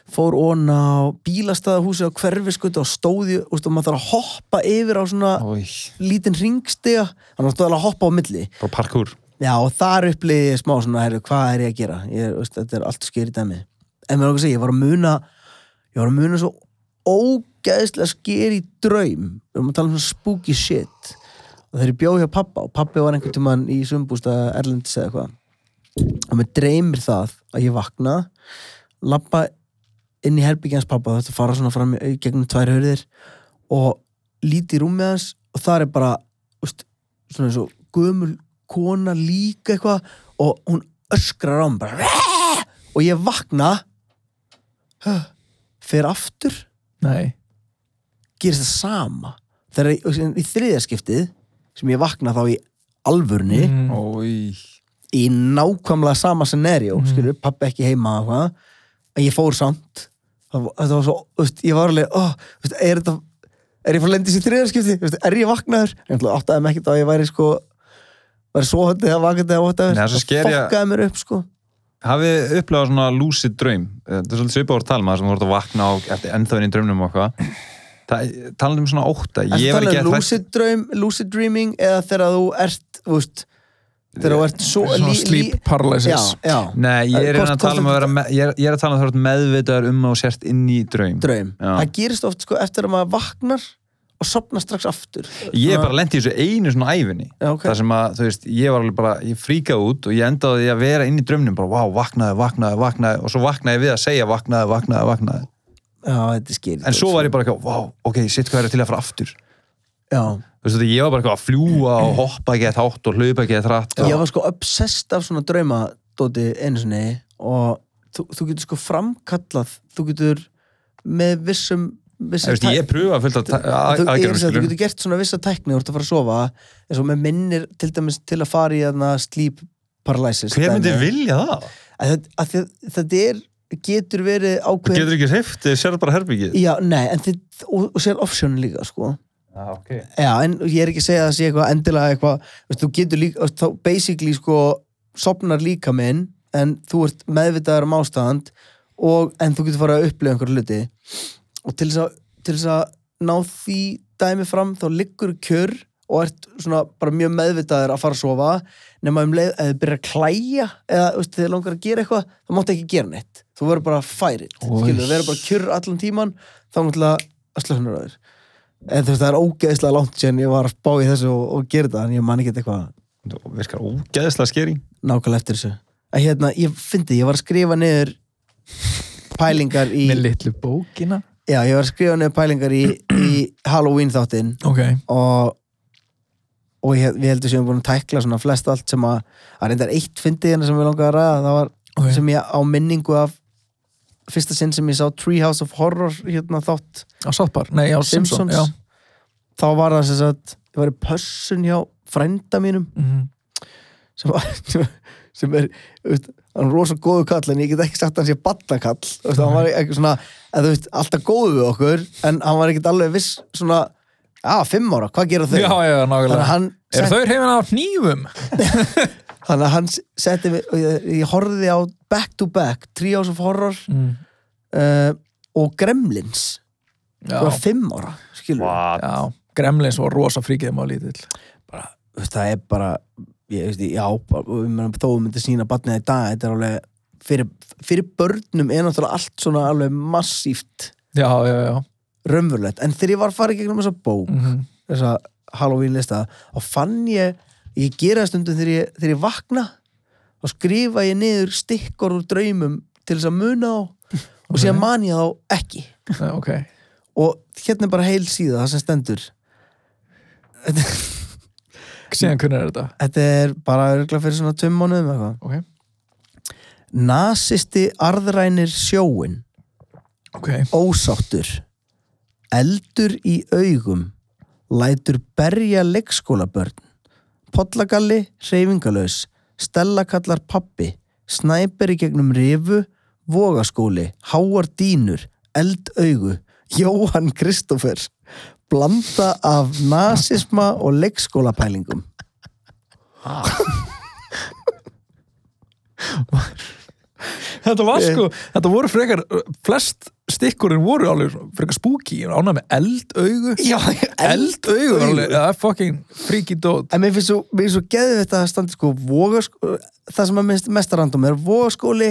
fór on á bílastæðahúsi á hverfiskutu og stóði og maður þarf að hoppa yfir á svona
Ói,
lítinn ringstega hann var stóðalega að hoppa á milli
bara parkour.
já og þar upplýði ég smá svona herru, hvað er ég að gera ég, veist, þetta er allt skýrið dæmi en mér er okkur að segja, ég var að muna ég var að muna svo ógeðslega skeri draum við erum að tala um svona spooky shit og þegar ég bjóð hjá pappa og pappi var einhvern tímann í sumbústa Erlendis eða eitthvað og mér dreymir það að ég vakna lappa inn í herbyggjans pappa þetta fara svona fram í í gegnum tvær hörðir og líti rúmið hans og þar er bara úst, svona eins og gömul kona líka eitthvað og hún öskrar á mig bara "Rrrr!" og ég vakna huh, fer aftur
Nei.
gerist það sama þegar ég, og síðan í þriðaskiptið sem ég vakna þá í alvörni
Mm.
Ói.
í nákvæmlega sama scenario mm.
Mhm.
skilur, pappi ekki heima og eitthvað. en ég fór samt það var, það var svo, veist, ég var alveg oh, veist, er þetta er ég fór að lenda í þessi þriðarskipti, veist, er ég vaknaður ég ætla áttaði mig ekkert á að ég væri sko væri svo höndið eða vakandi eða
Nei, það er
óttaður
svo scary að-
fokkaði mér upp sko
Hafið upplegað svona lucid draum Eh, Þetta er svolítið svipað úr talma sem þú voru að vakna á eftir ennþáinn í draumnum og eitthvað Það- Talandi um svona ótta
er
Ég var
það
ekki
um
að
lucid, draum, lucid dreaming eða þegar þú ert þú veist, þegar þú ert svo
Svona sleep
já,
paralysis.
já,
Nei, ég er
Kost-
reyna að tala um að vera me- ég er, ég er að tala um að þú ert meðvitaður um að þú sért inn í draum
draum
Já.
það gerist oft sko eftir að maður vaknar og sopnar strax aftur
Ég er bara lent í þessu einu svona æfinni
Já, ok.
þar sem að, þú veist, ég var alveg bara ég fríkaði út og ég endaði á því að vera inn í draumnum bara, vá, vaknaði, vaknaði, vaknaði og svo vaknaði ég við að segja vaknaði, vaknaði, vaknaði
já, þetta er skýrt
en svo var ég bara eitthvað, vá, ok, sitt hvað er til að fara aftur þú
Já,
veist, þetta, ég var bara eitthvað að fljúa og hoppa ekki að hátt og hlaupa ekki að þrætt
ég var sko obsessed af svona draumadóti einu sinni og þú, þú getur sko framkallað þú getur með vissum vissum
veist, ég pröfa fullt að
Þú, ég,
aðgerðum
sé að þú
skilur
getur gert svona vissa tækni þú ert að fara að sofa eins og með minnir til dæmis til að fara í þarna sleep paralysis
hver myndi
dæmi.
vilja það?
Að þetta- að þið- Þetta er, getur verið
þú
ákveð
getur ekki hreift, þið sér bara herbyggið
Já, nei, en þið, og, og sér optionen líka sko
ah, okay.
Já, en ég er ekki að segja að það sé eitthvað endilega eitthvað, veist, þú getur líka, veist, þá basically sko sopnar líka minn en þú ert meðvitaður um ástand og, en þú getur fara að upplifa einhverja hluti og til þess að, til þess að ná því dæmi fram þá liggur kjör og ert svona bara mjög meðvitaður að fara að sofa nema um leið að þið byrja að klæja eða veist, þið langar að gera eitthvað þá máttu ekki gera neitt, þú verður bara færit skilur, þú verður bara kjör allan tíman þá náttúrulega að slöfnur á þér en þú veist það er ógeðslega langt sér ég var að spá í þessu og, og gera það en ég man ekki eitthvað
virkar ógeðslega skeri
nákvæmlega eftir þessu en hérna, ég fyndi, ég var að skrifa niður pælingar í
Með litlu bókina.
já, ég var að skrifa niður pælingar í, í Halloween þáttinn
Ok.
og og ég, við heldum sem við búin að tækla svona flest allt sem að, að reyndar eitt fyndið hérna sem við langaði að ræða, það var
Ok.
sem ég á minningu af fyrsta sinn sem ég sá Treehouse of Horror hérna þátt
Á Sáttbar. Nei, á Simpsons.
Simpsons
Já.
þá var það sem sagt ég var í pössun hjá frænda mínum
Mm.
sem, sem, sem er veist, hann er rosa góðu kall en ég get ekki sagt að hann sé ballakall veist, hann var ekki svona að, þú veist, alltaf góðu við okkur en hann var ekkert alveg viss svona að fimm ára, hvað gera þau
Já, já,
þannig að
nákvæmlega.
hann,
Er
sett,
þau hrifin af nýjum?
þannig að hann setti mig, og ég, ég horfði á back to back, Treehouse of Horror
Mm.
uh, og Gremlins
Já.
ég var fimm ára, skilur
wow.
Já. Gremlins var rosa fríkið maður lítill.
Þú veist, það er bara ég veist, já, bara, og ég meina, þó þú myndir sína batnið í dag, þetta er alveg fyrir, fyrir börnum er náttúrulega allt svona alveg massíft
Já, já, já.
raunverulegt, en þegar ég var að fara í gegnum þessa bók,
Mm
þessa Halloween lista, þá fann ég ég gera það stundum þegar ég, þegar ég vakna þá skrifa ég niður stikkor úr draumum til þess að muna á og síðan man ég þá ekki
Ok.
og hérna er bara heil síða það sem stendur
Síðan hvernig er þetta?
þetta er bara örgla fyrir svona tveim mánuðum eða eitthvað
Ok.
Nasisti arðrænir sjóin
Ok.
Ósáttur Eldur í augum Lætur berja leikskólabörn Pollagalli hreyfingalös Stella kallar pappi Snæperi gegnum rifu Vogaskóli, háar dínur Eldaugu Jóhann Kristófer Blanda af nasisma og leikskólapælingum
Þetta var sko, þetta voru frekar, flest stikkurinn voru alveg frekar spooky, ég var ánægð með eldaugu.
Já,
Eldaugu var alveg, það er fucking freaky dot.
En mér finnst svo, mér finnst sko, svo geðið þetta að standi sko vogaskóli, það sem er mest, mest random er vogaskóli,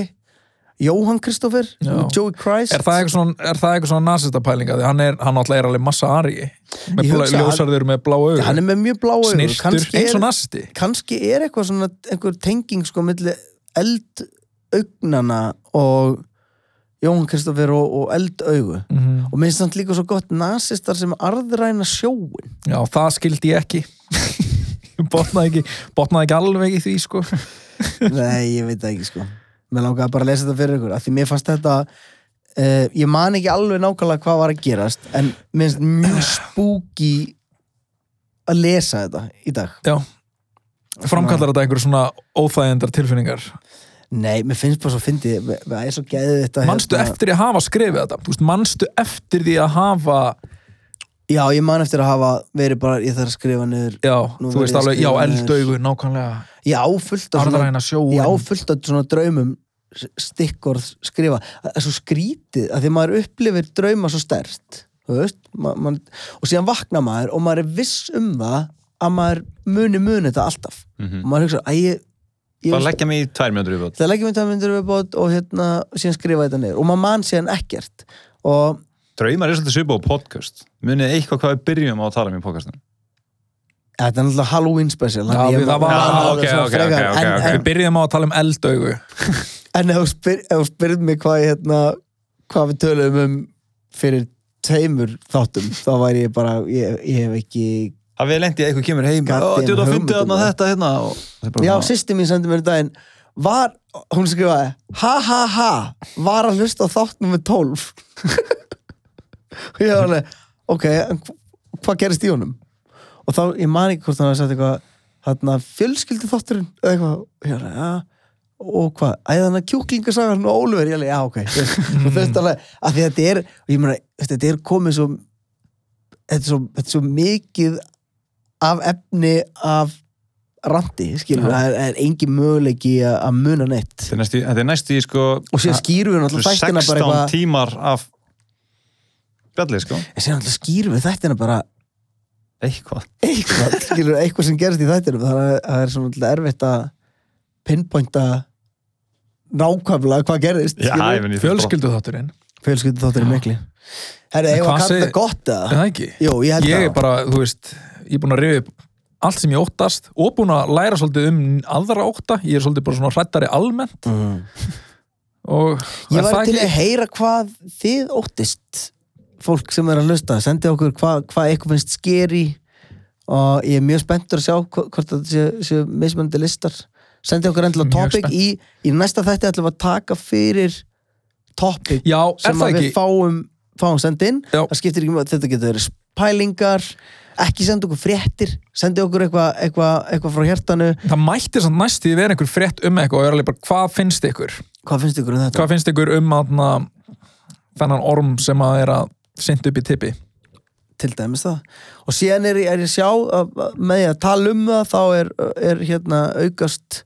Jóhann Kristoffer,
Já.
Joey Christ
Er það eitthvað svona, er það eitthvað svona nasista pælinga? Því hann, er, hann alltaf er alveg massa ari
Ég
með bla,
hugsa að-
ljósarður með blá augur,
hann er með mjög blá augu
snirtur,
Kannski
eins og
er-
nasisti
kannski er eitthvað svona einhver tenging sko milli eldaugnana og Jóhann Kristoffer og, og eldaugu
mm
og minnst þannig líka svo gott nasistar sem arðræna sjóin
Já, það skildi ég ekki Ég botnaði ekki, botnaði ekki alveg í því sko.
nei, ég veit það ekki sko mér langaði bara að lesa þetta fyrir ykkur af því mér fannst þetta uh, ég man ekki alveg nákvæmlega hvað var að gerast en minnst mjög spooky að lesa þetta í dag
Já Framkallar þetta einhverju svona óþægendar tilfinningar
nei, mér finnst bara svo fyndið mér- mér- það er svo hérna- geðið þetta
Manstu eftir því að hafa skrifið þetta Þú veist, Manstu eftir því að hafa
já, ég man eftir að hafa verið bara ég þarf að skrifa niður
Já,
Nú
þú
verð
veist
ég að
alveg, já,
skrifa niður.
eldaugu nákvæmlega,
Já, fullt af svona,
arðræna sjó
já, fullt af svona draumum s- stikkorð skrifa það er svo skrítið að því maður upplifir drauma svo stert veist, ma man, og síðan vakna maður og maður er viss um það að maður muni muni þetta alltaf
Mhm.
og maður hugsa að ég, ég
Bara leggja mig í tvær mjöndur yfirbót.
það leggjum við það myndir við bótt og hérna síðan skrifa þetta niður og maður mann síðan ekkert og
Draumar er svolítið svipa á podcast. Munið eitthvað hvað við byrjum á að tala um í podcastinu.
þetta er náttúrulega Halloween special
Já,
þannig ég-
við- það var-
maður-
Já,
maður-
ok,
svona
ok,
frekar.
ok, ok,
En-
ok.
en-
Við byrjum á að tala um eldaugu
En ef þú spyr, ef þú spyrð mig hvað ég hérna, hvað við töluðum um fyrir tveimur þáttum, þá væri ég bara, ég, ég hef ekki
Það við lendið eitthvað kemur heim.
Goddamn
Ó, djóta,
hugmynd
fundið
um
þarna
það.
þetta hérna. og- það er bara
Já,
svona-
sýsti mín sendi mér í daginn var, hún skrifaði ha ha ha, var að hlusta á þátt nummer 12 og ég var alveg, ok en hv- hvað gerist í honum og þá, ég man ekki hvort hann hafði sagt eitthvað þarna fjölskyldi þátturinn eða eitthvað, og ég var alveg, "Ah." já og hvað, æði þannig að kjúklingasagan og Ólfur, ég alveg, já, ok þú veist,
Mm.
þú veist alveg, að því þetta er og ég meina, þetta er komið svo þetta er svo, þetta er svo mikið af efni af randi, skilur,
Já.
það er, það er engin möguleiki að- að muna neitt
Þetta er næstu- Þetta er næstu í sko
og síðan skýrum við náttúrulega þættina bara
16
eitthvað
tímar af bjallið sko.
en síðan náttúrulega skýrum við þættina bara
Eitthvað.
eitthvað, skilur, eitthvað sem gerist í þættinum þannig að það er svona náttúrulega erfitt að pinpointa nákvæmlega hvað gerist
Já, ég meni,
Fjölskyldu þátturinn
fjölskyldu þáttir er mikli herru,
En
eigum við að
hvað
kalla
segir-
það gott
Er
eða?
það ekki?
Jú, ég held
Ég
að
er bara, þú veist, ég er búin að rifja upp allt sem ég óttast og búin að læra svolítið um aðra ótta ég er svolítið bara svona hrættari almennt
Mhm.
og
Ég
er það
var til
ekki-
að heyra hvað þið óttist fólk sem er að hlusta sendi okkur hvað hva eitthvað finnst skeri og ég er mjög spenntur að sjá hvo- hvort þetta séu sé mismöndi listar sendi okkur endilega
Mjög
topic
spennt.
í, í næsta þætti ætlum við að taka fyrir topic
Já, er
sem
það
að
ekki?
við fáum, fáum sendin
Já.
það skiptir ekki með þetta getur verið pælingar ekki senda okkur fréttir sendi okkur eitthvað eitthva, eitthva frá hjertanu
Það mætti samt næst því að vera einhver frétt um eitthvað og ég er alveg bara, hvað finnst ykkur?
hvað finnst ykkur um þetta?
Hvað finnst ykkur um aðna, þennan orm sem að er að synda upp í tippi?
til dæmis það og síðan er, er ég sjá að, að- með ég að tala um það þá er, er hérna aukast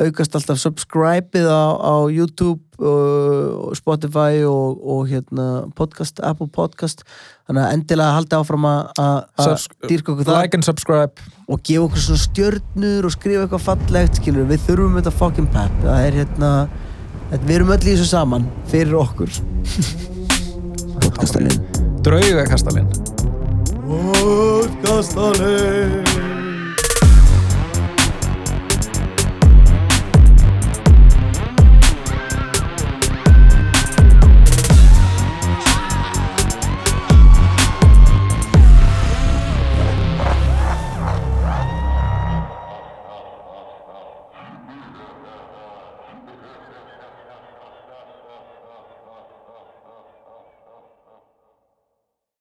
aukast alltaf subscribe-ið á, á YouTube uh, og Spotify og, og hérna podcast, Apple podcast þannig að endilega halda áfram að- að að
Subs-
dýrka okkur það
Like and subscribe
og gefa okkur svona stjörnur og skrifa eitthvað fallegt skilur við þurfum þetta fucking pep það er hérna þetta- við erum öll í þessu saman fyrir okkur podcastalinn
Draugakastalinn
podcastalinn